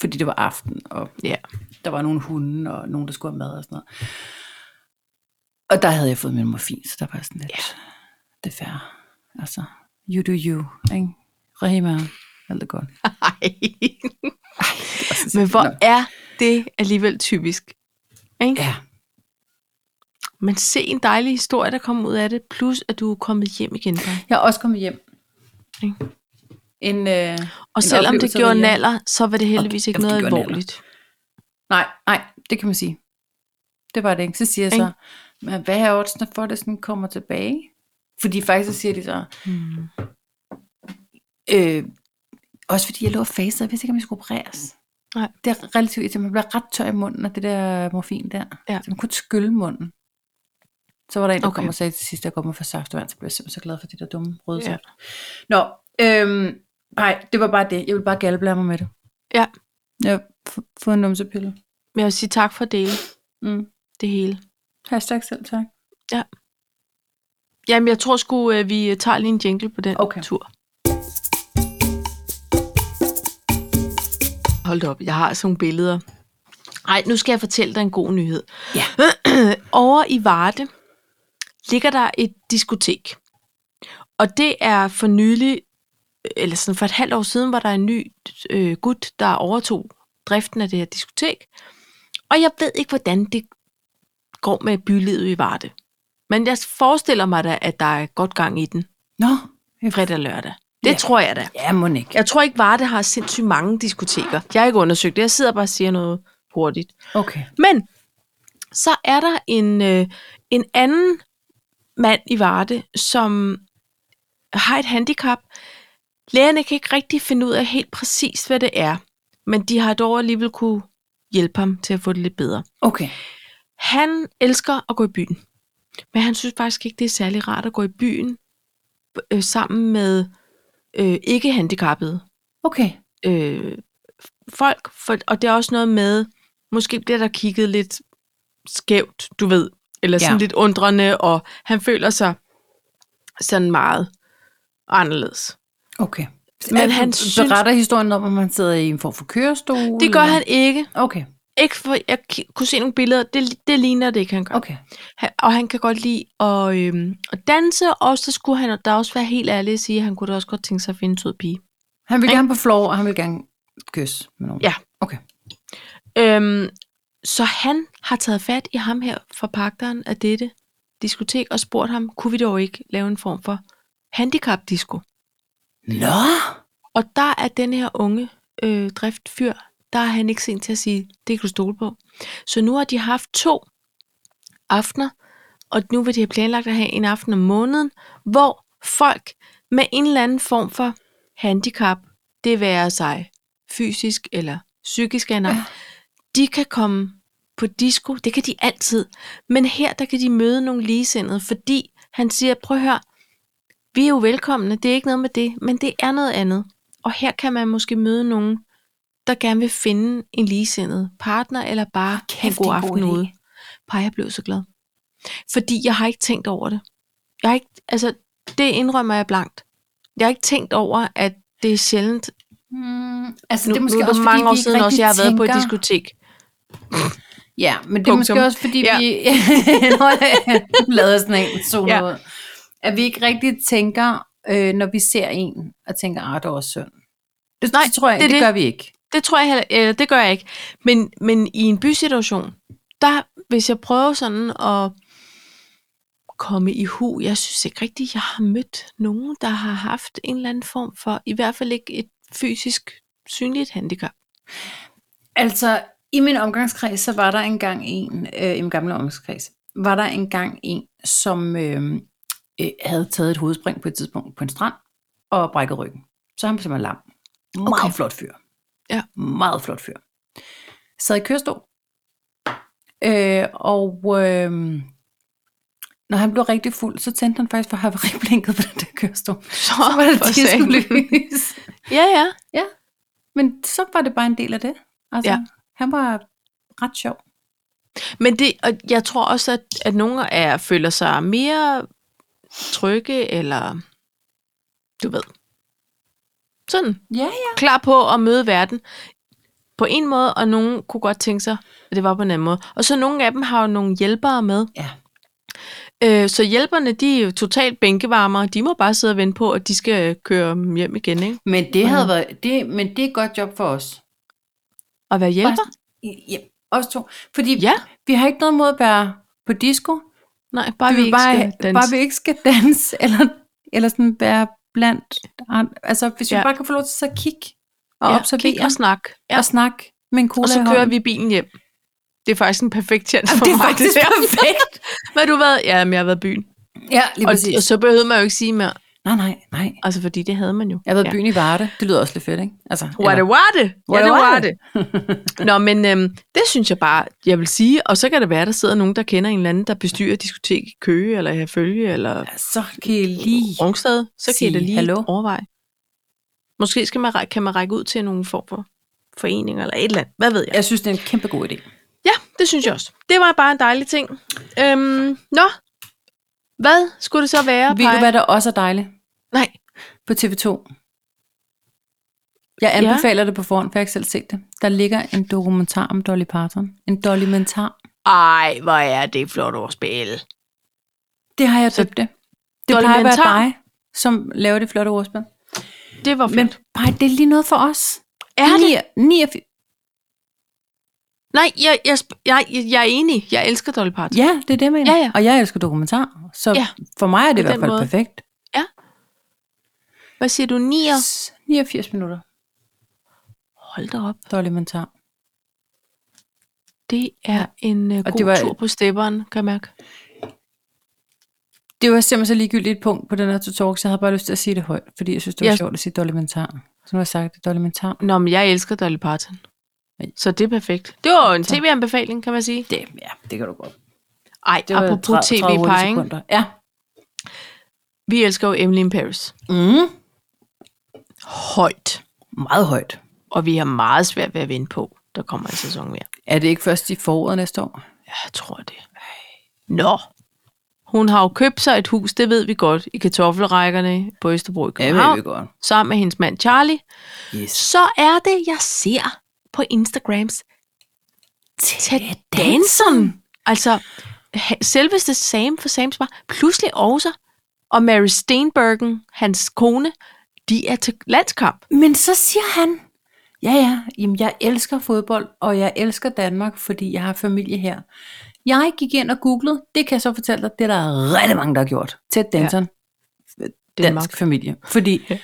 [SPEAKER 2] fordi det var aften, og
[SPEAKER 1] Ja.
[SPEAKER 2] der var nogle hunde, og nogen, der skulle have mad og sådan noget. Og der havde jeg fået min morfin, så der var sådan lidt, ja. det er fair. Altså, you do you, ikke? Rahima, alt er godt.
[SPEAKER 1] Ej.
[SPEAKER 2] Og så siger
[SPEAKER 1] Men
[SPEAKER 2] jeg, "Nå,
[SPEAKER 1] hvor er det alligevel typisk. Ikke?
[SPEAKER 2] Ja,
[SPEAKER 1] Men se en dejlig historie, der kommer ud af det, plus at du er kommet hjem igen. Kai.
[SPEAKER 2] jeg er også kommet hjem.
[SPEAKER 1] Ikke?
[SPEAKER 2] En, øh,
[SPEAKER 1] Og selvom det
[SPEAKER 2] oplevelse
[SPEAKER 1] gjorde
[SPEAKER 2] derhjemme.
[SPEAKER 1] naller, så var det heldigvis
[SPEAKER 2] Og
[SPEAKER 1] ikke
[SPEAKER 2] det
[SPEAKER 1] noget
[SPEAKER 2] gjorde naller.
[SPEAKER 1] alvorligt.
[SPEAKER 2] nej, nej, det kan man sige. Det var det ikke. Så siger jeg så,
[SPEAKER 1] Ikke?
[SPEAKER 2] men hvad er oddsene for, at det sådan kommer tilbage? Fordi faktisk så siger de så,
[SPEAKER 1] Hmm.
[SPEAKER 2] Øh, også fordi jeg lå og fasede, jeg vidste ikke, om jeg skulle opereres.
[SPEAKER 1] Nej.
[SPEAKER 2] Det er relativt irriterende. Man bliver ret tør i munden af det der morfin der.
[SPEAKER 1] Ja.
[SPEAKER 2] Så man kunne skylle munden. Så var der en, der okay.
[SPEAKER 1] Okay.
[SPEAKER 2] kom og sagde til sidst, at jeg kom og for saftvand, så blev jeg simpelthen så glad for det der dumme røde
[SPEAKER 1] Ja.
[SPEAKER 2] ja. Nå, øhm, nej, det var bare det. Jeg ville bare galblære mig med det.
[SPEAKER 1] Ja.
[SPEAKER 2] Jeg har f- fået en numsepille.
[SPEAKER 1] Men jeg vil sige tak for at dele
[SPEAKER 2] Mm.
[SPEAKER 1] det hele.
[SPEAKER 2] Hashtag selv tak.
[SPEAKER 1] Jamen, jeg tror sgu, øh, vi øh, tager lige en jingle på den
[SPEAKER 2] Okay.
[SPEAKER 1] okay. tur. Hold da op, jeg har sådan nogle billeder. Ej, nu skal jeg fortælle dig en god nyhed.
[SPEAKER 2] Ja.
[SPEAKER 1] Over i Varde ligger der et diskotek. Og det er for nylig, eller sådan for et halvt år siden, var der en ny øh, gut, der overtog driften af det her diskotek. Og jeg ved ikke, hvordan det går med bylivet i Varde. Men jeg forestiller mig da, at der er godt gang i den
[SPEAKER 2] Nå,
[SPEAKER 1] fredag og lørdag. Det
[SPEAKER 2] Ja.
[SPEAKER 1] ja. tror jeg da.
[SPEAKER 2] ja, må ikke.
[SPEAKER 1] Jeg tror ikke, Varde har sindssygt mange diskoteker. Jeg har ikke undersøgt det. Jeg sidder bare og siger noget hurtigt.
[SPEAKER 2] Okay.
[SPEAKER 1] Men så er der en, øh, en anden mand i Varde, som har et handicap. Lægerne kan ikke rigtig finde ud af helt præcis, hvad det er. Men de har dog alligevel kunne hjælpe ham til at få det lidt bedre.
[SPEAKER 2] Okay.
[SPEAKER 1] Han elsker at gå i byen. Men han synes faktisk ikke, det er særlig rart at gå i byen øh, sammen med øh, ikke-handicappede
[SPEAKER 2] Okay.
[SPEAKER 1] øh, folk. For, og det er også noget med, måske bliver der kigget lidt skævt, du ved. Eller sådan
[SPEAKER 2] Ja.
[SPEAKER 1] ja. lidt undrende, og han føler sig sådan meget anderledes.
[SPEAKER 2] Okay.
[SPEAKER 1] Men
[SPEAKER 2] Men han
[SPEAKER 1] han
[SPEAKER 2] beretter historien om, at man sidder i en form for kørestol?
[SPEAKER 1] Det gør
[SPEAKER 2] eller?
[SPEAKER 1] han ikke.
[SPEAKER 2] Okay.
[SPEAKER 1] Ikke for, jeg ki- kunne se nogle billeder, det, det ligner det ikke, han gør.
[SPEAKER 2] Okay.
[SPEAKER 1] Han, og han kan godt lide at, øhm, at danse, og så skulle han da også være helt ærlig og sige, at han kunne da også godt tænke sig at finde en sød pige.
[SPEAKER 2] Han vil
[SPEAKER 1] Ikke?
[SPEAKER 2] gerne på floor, og han vil gerne kysse med nogen.
[SPEAKER 1] Ja.
[SPEAKER 2] Okay.
[SPEAKER 1] Øhm, så han har taget fat i ham her fra pagteren af dette diskotek og spurgt ham, kunne vi dog ikke lave en form for handicap-disco?
[SPEAKER 2] Nå!
[SPEAKER 1] Og der er den her unge øh, driftfyr, der er han ikke sent til at sige, det kan du stole på. Så nu har de haft to aftener, og nu vil de have planlagt at have en aften om måneden, hvor folk med en eller anden form for handicap, det være sig fysisk eller psykisk eller
[SPEAKER 2] Ja.
[SPEAKER 1] ja. de kan komme på disco, det kan de altid. Men her, der kan de møde nogle ligesindede, fordi han siger, prøv at høre, vi er jo velkomne, det er ikke noget med det, men det er noget andet. Og her kan man måske møde nogen, der gerne vil finde en ligesindet partner, eller bare
[SPEAKER 2] kæft,
[SPEAKER 1] have en
[SPEAKER 2] det
[SPEAKER 1] god
[SPEAKER 2] er en god
[SPEAKER 1] aften
[SPEAKER 2] idé.
[SPEAKER 1] ude. Bare jeg blev så glad. Fordi jeg har ikke tænkt over det. Jeg har ikke, altså, det indrømmer jeg blankt. Jeg har ikke tænkt over, at det er sjældent.
[SPEAKER 2] Mm, altså,
[SPEAKER 1] Nu,
[SPEAKER 2] det er måske
[SPEAKER 1] nu er det
[SPEAKER 2] også,
[SPEAKER 1] mange
[SPEAKER 2] fordi,
[SPEAKER 1] år
[SPEAKER 2] vi ikke
[SPEAKER 1] siden også,
[SPEAKER 2] rigtig
[SPEAKER 1] jeg har været på et
[SPEAKER 2] tænker-
[SPEAKER 1] diskotek.
[SPEAKER 2] Ja, men det er
[SPEAKER 1] Punktum.
[SPEAKER 2] måske også, fordi
[SPEAKER 1] Ja.
[SPEAKER 2] ja. vi Nu lavede jeg sådan en zone
[SPEAKER 1] Ja.
[SPEAKER 2] ja. ud. At vi ikke rigtig tænker, øh, når vi ser en, og tænker, ah, det var synd. Det,
[SPEAKER 1] Nej,
[SPEAKER 2] det tror jeg,
[SPEAKER 1] det er
[SPEAKER 2] det, det
[SPEAKER 1] det.
[SPEAKER 2] gør vi ikke.
[SPEAKER 1] Det tror jeg heller, eller det gør jeg ikke. Men, men i en bysituation, der, hvis jeg prøver sådan at komme i hu, jeg synes ikke rigtigt, jeg har mødt nogen, der har haft en eller anden form for, i hvert fald ikke et fysisk synligt handicap.
[SPEAKER 2] Altså, i min omgangskreds, så var der engang en, øh, i min gamle omgangskreds, var der engang en, som øh, øh, havde taget et hovedspring på et tidspunkt på en strand, og brækket ryggen. Så er han simpelthen lam. Meget
[SPEAKER 1] Okay.
[SPEAKER 2] okay. flot fyr.
[SPEAKER 1] Ja.
[SPEAKER 2] Meget flot fyr. Sad i kørestol. Øh, og øh, når han blev rigtig fuld, så tændte han faktisk for havariblinket på den der kørestol.
[SPEAKER 1] Så,
[SPEAKER 2] Så var
[SPEAKER 1] for
[SPEAKER 2] der
[SPEAKER 1] satan.
[SPEAKER 2] diskolys.
[SPEAKER 1] Ja, ja.
[SPEAKER 2] Men så var det bare en del af det. Altså,
[SPEAKER 1] Ja.
[SPEAKER 2] ja. han var ret sjov.
[SPEAKER 1] Men det, og jeg tror også, at, at nogle af jer føler sig mere trygge, eller du ved, sådan,
[SPEAKER 2] Ja,
[SPEAKER 1] klar på at møde verden på en måde, og nogen kunne godt tænke sig, at det var på en anden måde. Og så nogle af dem har jo nogle hjælpere med.
[SPEAKER 2] Ja.
[SPEAKER 1] Øh, så hjælperne, de er jo totalt bænkevarmere. De må bare sidde og vente på, at de skal øh, køre dem hjem igen, ikke?
[SPEAKER 2] Men det havde
[SPEAKER 1] Mhm.
[SPEAKER 2] været, det, men det er et godt job for os.
[SPEAKER 1] Og være hjælper.
[SPEAKER 2] Ja, os to. Fordi
[SPEAKER 1] Ja.
[SPEAKER 2] ja. vi har ikke noget mod at være på disco.
[SPEAKER 1] Nej, bare
[SPEAKER 2] vi,
[SPEAKER 1] vi,
[SPEAKER 2] vil
[SPEAKER 1] ikke
[SPEAKER 2] bare,
[SPEAKER 1] skal danse.
[SPEAKER 2] bare vi ikke skal danse, eller, eller sådan være blandt andre. Altså, hvis ja.
[SPEAKER 1] Ja.
[SPEAKER 2] vi bare kan få lov til så at kigge og
[SPEAKER 1] ja,
[SPEAKER 2] ja,
[SPEAKER 1] kig
[SPEAKER 2] observere
[SPEAKER 1] og snak. Ja.
[SPEAKER 2] og snakke med en cola
[SPEAKER 1] Og så
[SPEAKER 2] i
[SPEAKER 1] kører
[SPEAKER 2] hånden.
[SPEAKER 1] vi bilen hjem. Det er faktisk en perfekt tjans
[SPEAKER 2] Jamen,
[SPEAKER 1] for
[SPEAKER 2] det er
[SPEAKER 1] mig.
[SPEAKER 2] faktisk
[SPEAKER 1] der.
[SPEAKER 2] perfekt.
[SPEAKER 1] Hvad har du været? Ja, men jeg har været i byen.
[SPEAKER 2] Ja, lige
[SPEAKER 1] Og,
[SPEAKER 2] præcis.
[SPEAKER 1] og, så behøvede man jo ikke sige mere.
[SPEAKER 2] Nej, nej, nej.
[SPEAKER 1] Altså, fordi det havde man jo.
[SPEAKER 2] Jeg har været
[SPEAKER 1] ja.
[SPEAKER 2] i byen i Varde. Det lyder også lidt fedt, ikke? Altså,
[SPEAKER 1] What a what a.
[SPEAKER 2] What
[SPEAKER 1] Ja,
[SPEAKER 2] a
[SPEAKER 1] det var
[SPEAKER 2] what
[SPEAKER 1] det. Nå, men øhm, det synes jeg bare, jeg vil sige. Og så kan det være, der sidder nogen, der kender en eller anden, der bestyrer diskotek i Køge, eller i Følge, eller
[SPEAKER 2] Ja, så kan I lige...
[SPEAKER 1] Rungsted. Så kan
[SPEAKER 2] Sige
[SPEAKER 1] jeg da lige
[SPEAKER 2] hallo.
[SPEAKER 1] overveje. Måske skal man, ræ- kan man række ud til nogle form for foreninger, eller et eller andet. Hvad ved jeg?
[SPEAKER 2] Jeg synes, det er en kæmpe god idé.
[SPEAKER 1] Ja, det synes jeg også. Det var bare en dejlig ting. Øhm, nå, hvad skulle det så være?
[SPEAKER 2] Ved du,
[SPEAKER 1] Paj?
[SPEAKER 2] hvad der også er dejligt?
[SPEAKER 1] Nej,
[SPEAKER 2] på TV2. Jeg
[SPEAKER 1] Ja.
[SPEAKER 2] anbefaler ja. det på forhånd, for jeg har ikke selv set det. Der ligger en dokumentar om Dolly Parton. En dokumentar.
[SPEAKER 1] ej, hvor er det flot ordspil.
[SPEAKER 2] Det har jeg
[SPEAKER 1] Så-
[SPEAKER 2] døbt det. Det plejer at
[SPEAKER 1] Dollymentar?
[SPEAKER 2] være dig, som laver det flotte ordspil.
[SPEAKER 1] Det var flot.
[SPEAKER 2] Men bare, det er lige noget for os.
[SPEAKER 1] er det?
[SPEAKER 2] 89.
[SPEAKER 1] Nej, jeg, jeg, sp- jeg, jeg, jeg er enig. Jeg elsker Dolly Parton.
[SPEAKER 2] Ja, det er det, jeg mener.
[SPEAKER 1] Ja, ja.
[SPEAKER 2] Og jeg elsker dokumentarer. Så
[SPEAKER 1] Ja.
[SPEAKER 2] ja. for mig er det
[SPEAKER 1] På
[SPEAKER 2] i hvert
[SPEAKER 1] den
[SPEAKER 2] fald
[SPEAKER 1] måde.
[SPEAKER 2] perfekt.
[SPEAKER 1] Hvad siger du, nier?
[SPEAKER 2] 89 minutter.
[SPEAKER 1] Hold da op.
[SPEAKER 2] Dollymentar.
[SPEAKER 1] Det er en uh,
[SPEAKER 2] Og
[SPEAKER 1] god
[SPEAKER 2] det var-
[SPEAKER 1] tur på stepperen, kan jeg mærke.
[SPEAKER 2] Det var simpelthen så ligegyldigt et punkt på den her talk, så jeg havde bare lyst til at sige det højt, fordi jeg synes, det var
[SPEAKER 1] Ja.
[SPEAKER 2] sjovt at sige dollymentar. Så nu har jeg sagt det, dollymentar.
[SPEAKER 1] Nå, men jeg elsker Dolly Parton.
[SPEAKER 2] Nej.
[SPEAKER 1] Så det er perfekt. Det var jo en tv-anbefaling, kan man sige.
[SPEAKER 2] Det, ja, det kan du godt.
[SPEAKER 1] Ej,
[SPEAKER 2] Det var
[SPEAKER 1] apropos
[SPEAKER 2] 30 hurtige
[SPEAKER 1] tv-peging.
[SPEAKER 2] sekunder. Ja.
[SPEAKER 1] Vi elsker jo Emily in Paris.
[SPEAKER 2] Mm.
[SPEAKER 1] Højt.
[SPEAKER 2] Meget højt.
[SPEAKER 1] Og vi har meget svært ved at vinde på. Der kommer en sæson mere.
[SPEAKER 2] Er det ikke først i foråret næste år?
[SPEAKER 1] Ja, jeg tror det. Nå. Hun har jo købt sig et hus, det ved vi godt, i kartoffelrækkerne på Østerbro i København,
[SPEAKER 2] godt.
[SPEAKER 1] sammen med hendes mand Charlie.
[SPEAKER 2] Yes.
[SPEAKER 1] så er det, jeg ser på Instagrams Ted Danson. Altså, ha- selveste Sam for Sams var pludselig også, og Mary Steenburgen, hans kone, de er til landskamp.
[SPEAKER 2] Men så siger han, ja ja, jamen jeg elsker fodbold, og jeg elsker Danmark, fordi jeg har familie her. Jeg gik ind og googlede, det kan jeg så fortælle dig, det er der rigtig mange, der har gjort. Ted Danson, ja. dansk
[SPEAKER 1] Danmark.
[SPEAKER 2] familie. Fordi,
[SPEAKER 1] Ja.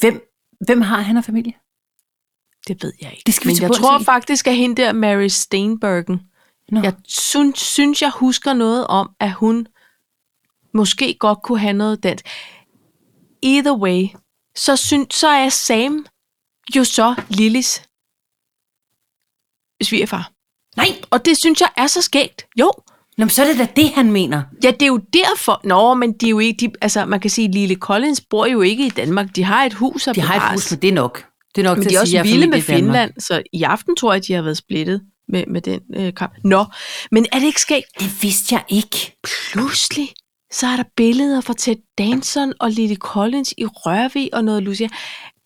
[SPEAKER 2] hvem, hvem har han af familie?
[SPEAKER 1] Det ved jeg ikke.
[SPEAKER 2] Det skal vi
[SPEAKER 1] Men
[SPEAKER 2] til
[SPEAKER 1] jeg
[SPEAKER 2] bunds
[SPEAKER 1] tror
[SPEAKER 2] i.
[SPEAKER 1] faktisk, at hende der, Mary Steenburgen,
[SPEAKER 2] Nå.
[SPEAKER 1] jeg synes, synes, jeg husker noget om, at hun måske godt kunne have noget dansk. Either way, så, synes, så er Sam jo så Lillis svigerfar.
[SPEAKER 2] Nej,
[SPEAKER 1] Og det synes jeg er så skægt. Jo,
[SPEAKER 2] Nå, men så er det da det, han mener.
[SPEAKER 1] ja, det er jo derfor. Nå, men de er jo ikke, de, altså man kan sige, Lille Collins bor jo ikke i Danmark. De har et hus og
[SPEAKER 2] De har et hus, men det er nok. Det er nok
[SPEAKER 1] men
[SPEAKER 2] til
[SPEAKER 1] de er
[SPEAKER 2] at
[SPEAKER 1] også
[SPEAKER 2] sige, at jeg
[SPEAKER 1] vilde med
[SPEAKER 2] familie i Danmark.
[SPEAKER 1] Finland, så i aften tror jeg, de har været splittet med, med den øh, kamp. Nå, men er det ikke skægt?
[SPEAKER 2] Det vidste jeg ikke.
[SPEAKER 1] pludselig, så er der billeder fra Ted Danson og Lily Collins i Rørvig og noget Lucia.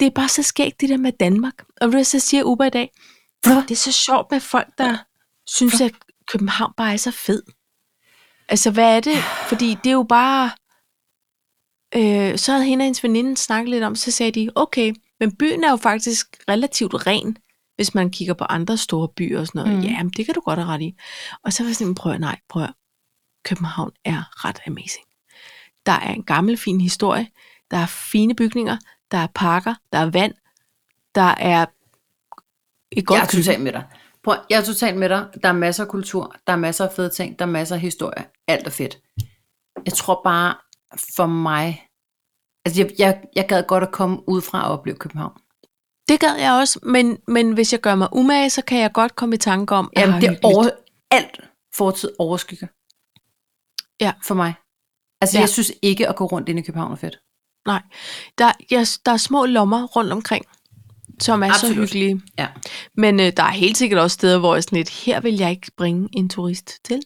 [SPEAKER 1] Det er bare så skægt, det der med Danmark. Og ved du, hvad så siger Uber i dag?
[SPEAKER 2] Hvad?
[SPEAKER 1] Det er så sjovt med folk, der synes, at København bare er så fed. Altså, hvad er det? Fordi det er jo bare... Øh, så havde hende og hendes veninde snakket lidt om, så sagde de, okay, men byen er jo faktisk relativt ren, hvis man kigger på andre store byer og sådan noget.
[SPEAKER 2] Mm.
[SPEAKER 1] Mm. Ja, men det kan du godt have ret i. Og så var jeg sådan, prøv at- nej, prøv at- København er ret amazing. Der er en gammel, fin historie. Der er fine bygninger. Der er parker. Der er vand. Der er et godt
[SPEAKER 2] Jeg er totalt med dig. Prøv, jeg er totalt med dig. Der er masser af kultur, der er masser af fede ting, der er masser af historie. Alt er fedt. Jeg tror bare, for mig... Altså, jeg, jeg, jeg gad godt at komme ud fra og opleve København.
[SPEAKER 1] Det gad jeg også, men, men hvis jeg gør mig umage, så kan jeg godt komme i tanke om, at
[SPEAKER 2] Jamen,
[SPEAKER 1] har
[SPEAKER 2] det er
[SPEAKER 1] hyggeligt.
[SPEAKER 2] over, alt fortid overskygger.
[SPEAKER 1] Ja.
[SPEAKER 2] For mig. Altså,
[SPEAKER 1] Ja.
[SPEAKER 2] ja. jeg synes ikke at gå rundt inde i København er fedt.
[SPEAKER 1] Nej, der, jeg, der er små lommer rundt omkring, som er Absolut.
[SPEAKER 2] Absolut.
[SPEAKER 1] så hyggelige.
[SPEAKER 2] Ja.
[SPEAKER 1] Men øh, der er helt sikkert også steder, hvor jeg sådan lidt, her vil jeg ikke bringe en turist til.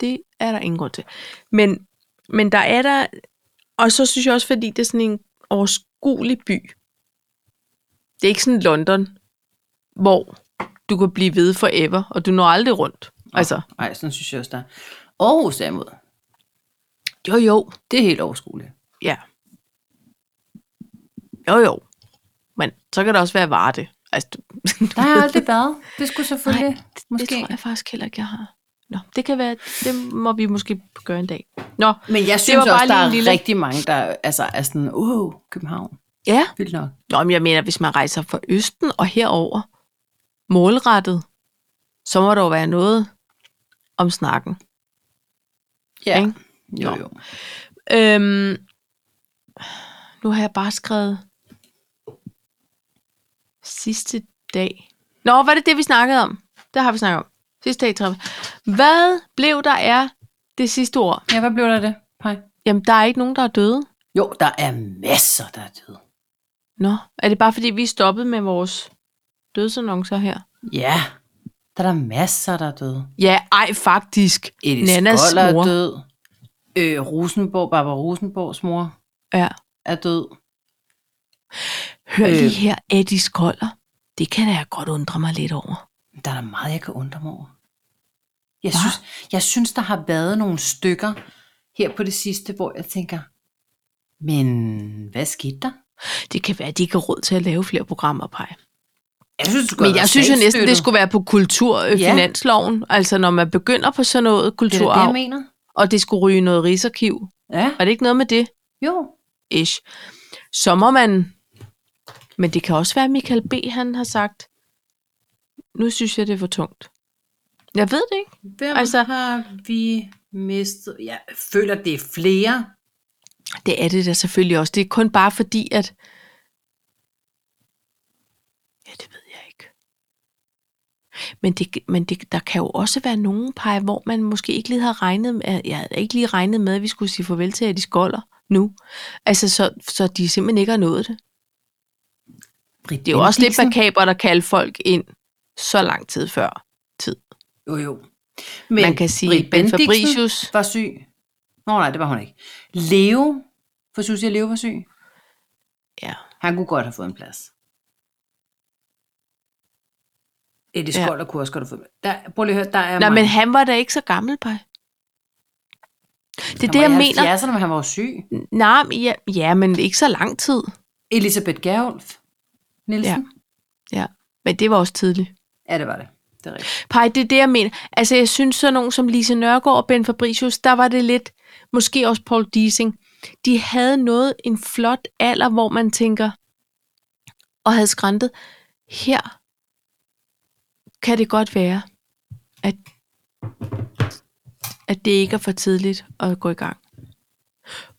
[SPEAKER 1] Det er der ingen grund til. Men, men der er der, og så synes jeg også, fordi det er sådan en overskuelig by. Det er ikke sådan London, hvor du kan blive ved forever, og du når aldrig rundt. Altså,
[SPEAKER 2] Nej, sådan synes jeg også, der er. Aarhus derimod,
[SPEAKER 1] jo jo,
[SPEAKER 2] det er helt overskueligt.
[SPEAKER 1] Ja. Jo, jo. Men så kan det også være Varde. Altså, du,
[SPEAKER 2] Der har jeg aldrig været. Det skulle selvfølgelig...
[SPEAKER 1] Nej,
[SPEAKER 2] Nej,
[SPEAKER 1] det tror jeg faktisk heller ikke, jeg har. Nå, det kan være, det må vi måske gøre en dag. Nå,
[SPEAKER 2] Men jeg
[SPEAKER 1] var
[SPEAKER 2] synes
[SPEAKER 1] bare
[SPEAKER 2] også, der
[SPEAKER 1] lige
[SPEAKER 2] er
[SPEAKER 1] en lille-
[SPEAKER 2] lille... rigtig mange, der altså, er sådan, wow, København,
[SPEAKER 1] ja.
[SPEAKER 2] vildt nok.
[SPEAKER 1] Nå, men jeg mener, hvis man rejser fra Østen og herover målrettet, så må der jo være noget om snakken.
[SPEAKER 2] Ja.
[SPEAKER 1] Ikke?
[SPEAKER 2] Jo,
[SPEAKER 1] Nå.
[SPEAKER 2] jo.
[SPEAKER 1] Øhm, nu har jeg bare skrevet sidste dag. Nå, var det det, vi snakkede om? Det har vi snakket om. Sidste dag i trappen. Hvad blev der af det sidste ord?
[SPEAKER 2] Ja, hvad blev der af det, Pej?
[SPEAKER 1] Jamen, der er ikke nogen, der er døde.
[SPEAKER 2] Jo, der er masser, der er døde.
[SPEAKER 1] Nå, er det bare fordi, vi er stoppet med vores dødsannoncer her?
[SPEAKER 2] Ja, der er der masser, der er døde.
[SPEAKER 1] Ja, ej faktisk.
[SPEAKER 2] Elis
[SPEAKER 1] Nannas
[SPEAKER 2] Skoller
[SPEAKER 1] mor.
[SPEAKER 2] er død. Øh, Rosenborg, Barbara Rosenborgs mor
[SPEAKER 1] Ja.
[SPEAKER 2] er død.
[SPEAKER 1] Hør
[SPEAKER 2] Øh.
[SPEAKER 1] lige her, Eddie Skoller. Det kan da jeg godt undre mig lidt over.
[SPEAKER 2] Der er der meget, jeg kan undre mig over. Jeg
[SPEAKER 1] Hva?
[SPEAKER 2] synes, jeg synes, der har været nogle stykker her på det sidste, hvor jeg tænker, men hvad skete der?
[SPEAKER 1] Det kan være, at de ikke har råd til at lave flere programmer, Paj.
[SPEAKER 2] Jeg synes, du
[SPEAKER 1] Men jeg synes jo næsten, det skulle være på
[SPEAKER 2] Ja.
[SPEAKER 1] kulturfinansloven. Ja. Altså, når man begynder på sådan noget
[SPEAKER 2] Det er da det,
[SPEAKER 1] kulturarv,
[SPEAKER 2] jeg
[SPEAKER 1] det
[SPEAKER 2] mener.
[SPEAKER 1] og det skulle ryge i noget rigsarkiv.
[SPEAKER 2] Ja,
[SPEAKER 1] Er det ikke noget med det?
[SPEAKER 2] jo.
[SPEAKER 1] Ish. Så må man... Men det kan også være, at Michael B. han har sagt, nu synes jeg, det er for tungt. Jeg ved det ikke.
[SPEAKER 2] Hvem
[SPEAKER 1] Altså-
[SPEAKER 2] altså, har vi mistet? Jeg føler, det er flere.
[SPEAKER 1] Det er det da selvfølgelig også. Det er kun bare fordi, at... Ja, det ved jeg ikke. Men, det, men det, der kan jo også være nogen par, hvor man måske ikke lige havde regnet med, jeg havde ikke lige regnet med, at vi skulle sige farvel til, at de skolder nu. Altså, så, så de simpelthen ikke har nået det.
[SPEAKER 2] Britt
[SPEAKER 1] Det er jo også lidt
[SPEAKER 2] Bendixen.
[SPEAKER 1] makabert at kalde folk ind så lang tid før tid.
[SPEAKER 2] Jo, jo.
[SPEAKER 1] Men man kan sige, Ben
[SPEAKER 2] Britt Bendixen
[SPEAKER 1] Fabricius,
[SPEAKER 2] var syg. Nå nej, det var hun ikke. Leo, for Susie og Leo var syg.
[SPEAKER 1] Ja.
[SPEAKER 2] Han kunne godt have fået en plads. Eddie
[SPEAKER 1] Ja.
[SPEAKER 2] Skoller ja. kunne også godt have fået der, Prøv lige at høre, der
[SPEAKER 1] Nej,
[SPEAKER 2] er mange.
[SPEAKER 1] men han var da ikke så gammel, Paj. Det er
[SPEAKER 2] Han
[SPEAKER 1] det, jeg
[SPEAKER 2] var i
[SPEAKER 1] mener.
[SPEAKER 2] 70'erne, men han var jo syg.
[SPEAKER 1] Nej, men ja, ja, men ikke så lang tid.
[SPEAKER 2] Elisabeth Gerulf Nielsen.
[SPEAKER 1] Ja, men det var også tidligt.
[SPEAKER 2] Ja. ja, det var det. Det er rigtigt.
[SPEAKER 1] Pej, det er det, jeg mener. Altså, jeg synes, sådan nogen som Lise Nørgaard og Ben Fabricius, der var det lidt, måske også Paul Diesing, de havde noget, en flot alder, hvor man tænker, og havde skræntet, her kan det godt være, at, at det ikke er for tidligt at gå i gang.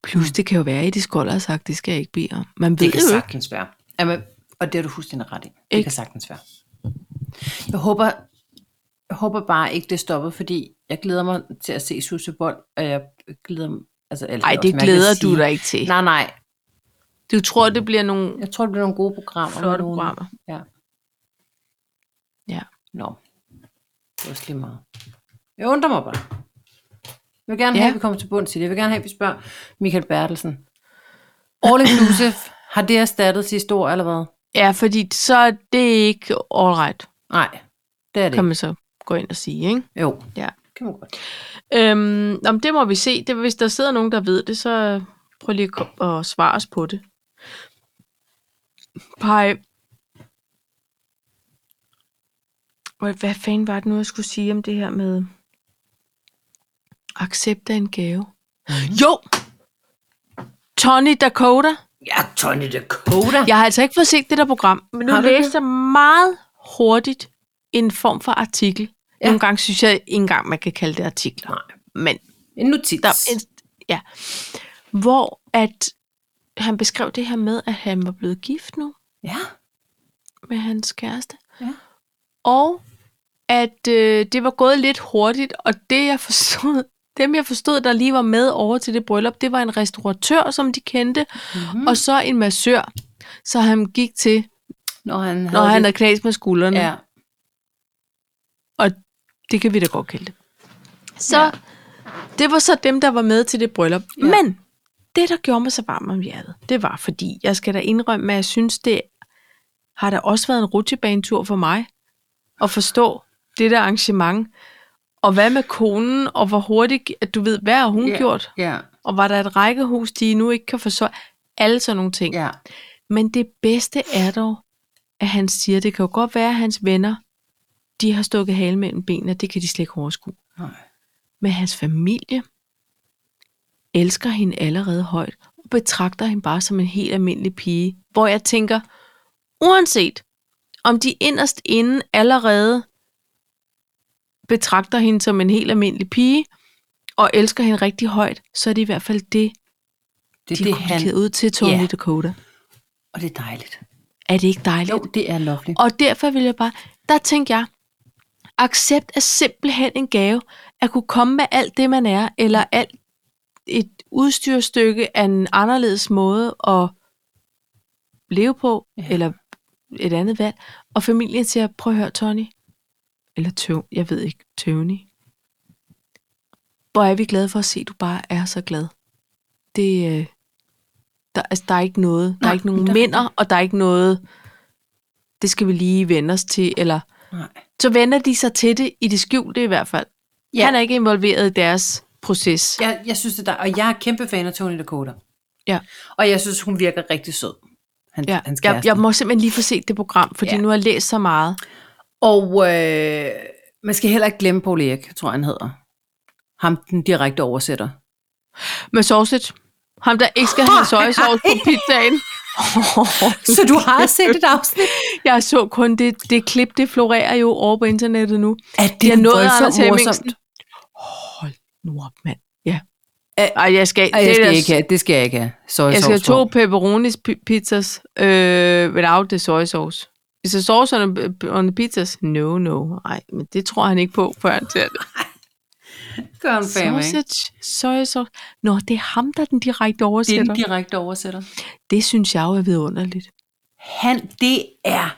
[SPEAKER 1] Plus, det kan jo være, at de skolder har sagt, det skal jeg ikke bede om. Man ved
[SPEAKER 2] Mm. Det kan
[SPEAKER 1] jo ikke.
[SPEAKER 2] sagtens være. Jamen, og det har du fuldstændig ret i. Det
[SPEAKER 1] Ikke?
[SPEAKER 2] kan sagtens være. Jeg håber, jeg håber bare ikke, det stopper, fordi jeg glæder mig til at se Susse Bold, og jeg glæder mig... Altså, eller
[SPEAKER 1] Nej,
[SPEAKER 2] er også
[SPEAKER 1] det
[SPEAKER 2] mærkeligt at
[SPEAKER 1] glæder
[SPEAKER 2] sige.
[SPEAKER 1] du dig ikke til.
[SPEAKER 2] Nej, nej.
[SPEAKER 1] Du tror, det bliver nogle
[SPEAKER 2] Mm. Jeg tror, det bliver nogle gode programmer.
[SPEAKER 1] flotte
[SPEAKER 2] nogle-
[SPEAKER 1] programmer.
[SPEAKER 2] Ja.
[SPEAKER 1] Ja.
[SPEAKER 2] Nå. Det er også lige meget. Jeg undrer mig bare. Jeg vil gerne
[SPEAKER 1] Ja.
[SPEAKER 2] have, at vi kommer til bund til det. Jeg vil gerne have, at vi spørger Michael Bertelsen. All inclusive. har det erstattet sidste år, eller hvad?
[SPEAKER 1] Ja, fordi så er det ikke all right,
[SPEAKER 2] Nej, det er
[SPEAKER 1] kan
[SPEAKER 2] det ikke.
[SPEAKER 1] man så gå ind og sige, ikke?
[SPEAKER 2] Jo,
[SPEAKER 1] Ja.
[SPEAKER 2] kan man godt.
[SPEAKER 1] Øhm, om det må vi se. Det, hvis der sidder nogen, der ved det, så prøv lige at kom- at svare os på det. Pej. Hvad hvad fanden var det nu, jeg skulle sige om det her med accept af en gave?
[SPEAKER 2] Mhm.
[SPEAKER 1] Jo! Tony Dakota.
[SPEAKER 2] Ja, Tony Dakota. Ja.
[SPEAKER 1] Jeg har altså ikke fået set det der program, men nu
[SPEAKER 2] Har du
[SPEAKER 1] læste
[SPEAKER 2] det?
[SPEAKER 1] jeg meget hurtigt en form for artikel. Ja. Nogle gange synes jeg ikke engang, man kan kalde det artikler.
[SPEAKER 2] Nej.
[SPEAKER 1] Men
[SPEAKER 2] En notits.
[SPEAKER 1] der, en, ja, hvor at han beskrev det her med, at han var blevet gift nu
[SPEAKER 2] Ja.
[SPEAKER 1] med hans kæreste.
[SPEAKER 2] Ja.
[SPEAKER 1] Og at øh, det var gået lidt hurtigt, og det jeg forstod, dem jeg forstod, der lige var med over til det bryllup, det var en restauratør, som de kendte,
[SPEAKER 2] Mm-hmm.
[SPEAKER 1] mm. og så en massør. Så han gik til
[SPEAKER 2] Når han havde
[SPEAKER 1] Nå, han
[SPEAKER 2] lidt-
[SPEAKER 1] er knas med skuldrene.
[SPEAKER 2] Ja.
[SPEAKER 1] Og det kan vi da godt kalde det. Så
[SPEAKER 2] Ja.
[SPEAKER 1] ja. det var så dem, der var med til det bryllup.
[SPEAKER 2] Ja.
[SPEAKER 1] Ja. Men det, der gjorde mig så varm om hjertet, det var fordi, jeg skal da indrømme, at jeg synes, det har da også været en rutsjebanetur for mig at forstå det der arrangement. Og hvad med konen, og hvor hurtigt, at du ved, hvad har hun
[SPEAKER 2] Ja.
[SPEAKER 1] yeah. gjort?
[SPEAKER 2] Ja,
[SPEAKER 1] Og var der et rækkehus, de nu ikke kan forstå? Alle sådan nogle ting.
[SPEAKER 2] ja.
[SPEAKER 1] Men det bedste er dog, at han siger, det kan jo godt være, at hans venner, de har stukket halen mellem benene, det kan de slet ikke overskue.
[SPEAKER 2] Nej.
[SPEAKER 1] Men hans familie elsker hende allerede højt, og betragter hende bare som en helt almindelig pige, hvor jeg tænker, uanset om de inderst inde allerede betragter hende som en helt almindelig pige, og elsker hende rigtig højt, så er det i hvert fald det,
[SPEAKER 2] Det,
[SPEAKER 1] de
[SPEAKER 2] det
[SPEAKER 1] det
[SPEAKER 2] er han.
[SPEAKER 1] kommunikerer ud til Tony
[SPEAKER 2] Ja.
[SPEAKER 1] yeah. Dakota.
[SPEAKER 2] Og det er dejligt.
[SPEAKER 1] Er det ikke dejligt?
[SPEAKER 2] Jo, det er lovely.
[SPEAKER 1] Og derfor vil jeg bare, der tænkte jeg, accept er simpelthen en gave, at kunne komme med alt det, man er, eller alt et udstyrstykke af en anderledes måde at leve på,
[SPEAKER 2] Ja.
[SPEAKER 1] ja. eller et andet valg. Og familien siger, prøv at høre, Tony. Eller Tøv, jeg ved ikke, Tony. Hvor er vi glade for at se, at du bare er så glad. Det, øh, der, altså, der er ikke noget. Der er
[SPEAKER 2] Nej,
[SPEAKER 1] ikke nogen
[SPEAKER 2] der-
[SPEAKER 1] minder, og der er ikke noget det skal vi lige vende os til, eller
[SPEAKER 2] Nej.
[SPEAKER 1] så vender de sig til det i det skjulte i hvert fald.
[SPEAKER 2] Ja.
[SPEAKER 1] Ja. Han er ikke involveret i deres proces.
[SPEAKER 2] Jeg, jeg synes, det er dejligt. Og jeg er kæmpe fan af Tony Dakota.
[SPEAKER 1] Ja.
[SPEAKER 2] Og jeg synes, hun virker rigtig sød. Han,
[SPEAKER 1] Ja.
[SPEAKER 2] Hans
[SPEAKER 1] Jeg,
[SPEAKER 2] kæreste.
[SPEAKER 1] jeg må simpelthen lige få set det program, fordi
[SPEAKER 2] Ja.
[SPEAKER 1] ja. nu har jeg læst så meget.
[SPEAKER 2] Og øh, man skal heller ikke glemme Paul Erik, tror jeg, han hedder. Ham, den direkte oversætter.
[SPEAKER 1] Med sausage. Ham, der ikke skal have sojasauce på pizzaen.
[SPEAKER 2] Så du har set et afsnit?
[SPEAKER 1] jeg så kun det, det klip, det florerer jo over på internettet nu.
[SPEAKER 2] At det
[SPEAKER 1] Jeg
[SPEAKER 2] er
[SPEAKER 1] nåede Anders
[SPEAKER 2] voldsomt
[SPEAKER 1] Hemmingsen.
[SPEAKER 2] morsomt.
[SPEAKER 1] Hold nu op, mand. Ja. Ej, jeg skal,
[SPEAKER 2] Ej, jeg
[SPEAKER 1] det er
[SPEAKER 2] skal
[SPEAKER 1] da-
[SPEAKER 2] ikke have, det skal jeg ikke have. Soja
[SPEAKER 1] Jeg skal have to pepperonis pi- pizzas øh, without the soy sauce. Is the sauce on the, on the pizzas? No, no. Nej, men det tror han ikke på, før han ser det.
[SPEAKER 2] Gør en fame, ikke?
[SPEAKER 1] Sausage, soy sauce. Nå, det er ham, der er den direkte
[SPEAKER 2] Det er
[SPEAKER 1] oversætter.
[SPEAKER 2] den
[SPEAKER 1] Det,
[SPEAKER 2] direkte oversætter.
[SPEAKER 1] det synes jeg jo er vidunderligt.
[SPEAKER 2] Han, det er...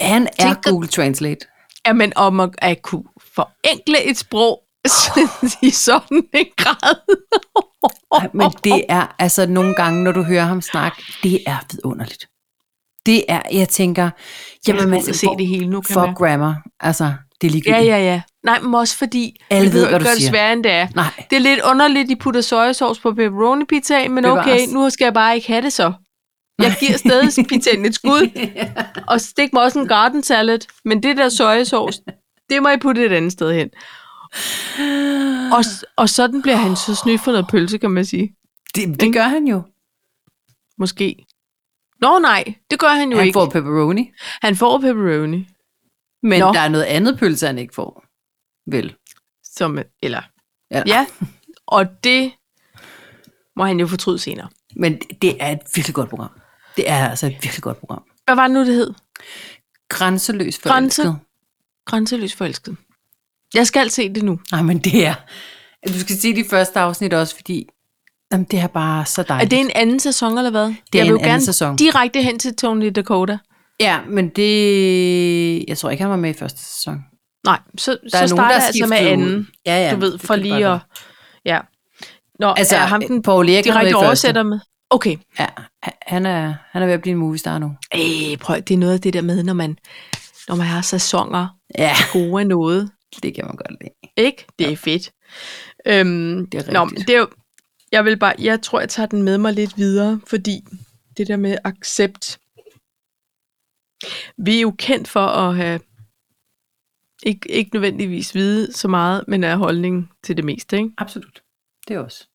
[SPEAKER 2] Han er
[SPEAKER 1] Tænk dig-
[SPEAKER 2] Google Translate.
[SPEAKER 1] Jamen, om at, at kunne forenkle et sprog i sådan en grad.
[SPEAKER 2] Ej, men det er altså nogle gange, når du hører ham snakke, det er vidunderligt. det er, jeg tænker,
[SPEAKER 1] Jeg
[SPEAKER 2] jamen
[SPEAKER 1] må
[SPEAKER 2] altså,
[SPEAKER 1] se
[SPEAKER 2] hvor-
[SPEAKER 1] det hele nu, kan
[SPEAKER 2] fuck
[SPEAKER 1] jeg
[SPEAKER 2] grammar, altså, det
[SPEAKER 1] Ja,
[SPEAKER 2] er ligegyldigt.
[SPEAKER 1] ja, ja. Nej, men også fordi...
[SPEAKER 2] Alle
[SPEAKER 1] vi
[SPEAKER 2] ved,
[SPEAKER 1] behøver
[SPEAKER 2] hvad
[SPEAKER 1] ikke
[SPEAKER 2] du
[SPEAKER 1] gøre det
[SPEAKER 2] siger.
[SPEAKER 1] sværere, end det er.
[SPEAKER 2] Nej,
[SPEAKER 1] Det er lidt underligt, de putter sojasauce på pepperoni pizza, men okay,
[SPEAKER 2] Bevares.
[SPEAKER 1] nu skal jeg bare ikke have det så. Jeg giver stadig pizzaen et skud, og stik mig også en garden salad, men det der sojasauce, det må I putte et andet sted hen. Og, s- og sådan bliver han så snydt for noget pølse, kan man sige.
[SPEAKER 2] det, det gør han jo.
[SPEAKER 1] Måske. Nå nej, det gør han jo
[SPEAKER 2] Han
[SPEAKER 1] ikke.
[SPEAKER 2] får pepperoni,
[SPEAKER 1] Han får pepperoni,
[SPEAKER 2] men
[SPEAKER 1] Nå.
[SPEAKER 2] der er noget andet pølse, han ikke får. Vel.
[SPEAKER 1] som, eller...
[SPEAKER 2] Ja.
[SPEAKER 1] ja, og det må han jo fortryde senere.
[SPEAKER 2] Men det er et virkelig godt program. Det er altså et virkelig godt program.
[SPEAKER 1] Hvad var det nu, det hed?
[SPEAKER 2] Grænseløs
[SPEAKER 1] Grænse-
[SPEAKER 2] forelsket.
[SPEAKER 1] Grænseløs forelsket. Jeg skal se det nu.
[SPEAKER 2] Nej, men det er... Du skal se de første afsnit også, fordi jamen, det er bare så
[SPEAKER 1] Er
[SPEAKER 2] dejligt.
[SPEAKER 1] det en anden sæson, eller hvad? Det
[SPEAKER 2] er
[SPEAKER 1] jeg vil
[SPEAKER 2] en
[SPEAKER 1] jo
[SPEAKER 2] anden
[SPEAKER 1] gerne
[SPEAKER 2] sæson.
[SPEAKER 1] direkte hen til Tony Dakota.
[SPEAKER 2] Ja, men det... Jeg tror ikke, han var med i første sæson. Der
[SPEAKER 1] Nej, så, så
[SPEAKER 2] er
[SPEAKER 1] starter
[SPEAKER 2] nogen, der er
[SPEAKER 1] jeg altså med
[SPEAKER 2] skiftet ud.
[SPEAKER 1] anden.
[SPEAKER 2] Ja, ja.
[SPEAKER 1] Du ved,
[SPEAKER 2] det
[SPEAKER 1] for
[SPEAKER 2] kan
[SPEAKER 1] lige
[SPEAKER 2] godt
[SPEAKER 1] at... Ja. Nå,
[SPEAKER 2] Altså,
[SPEAKER 1] altså, er ham den
[SPEAKER 2] Paul Erik
[SPEAKER 1] direkte oversætter med? Okay.
[SPEAKER 2] Ja, han er, han er ved at blive en moviestar nu.
[SPEAKER 1] Øh, prøv, det er noget af det der med, når man, når man har sæsoner
[SPEAKER 2] Ja,
[SPEAKER 1] gode af noget.
[SPEAKER 2] det kan man godt lide.
[SPEAKER 1] Ikke? Det er fedt. Øhm,
[SPEAKER 2] Det er
[SPEAKER 1] Nå,
[SPEAKER 2] rigtigt.
[SPEAKER 1] men det er jo, jeg, vil bare, jeg tror, jeg tager den med mig lidt videre, fordi det der med accept. Vi er jo kendt for at have, ikke, ikke nødvendigvis vide så meget, men er holdning til det meste. Ikke?
[SPEAKER 2] Absolut. Det er også.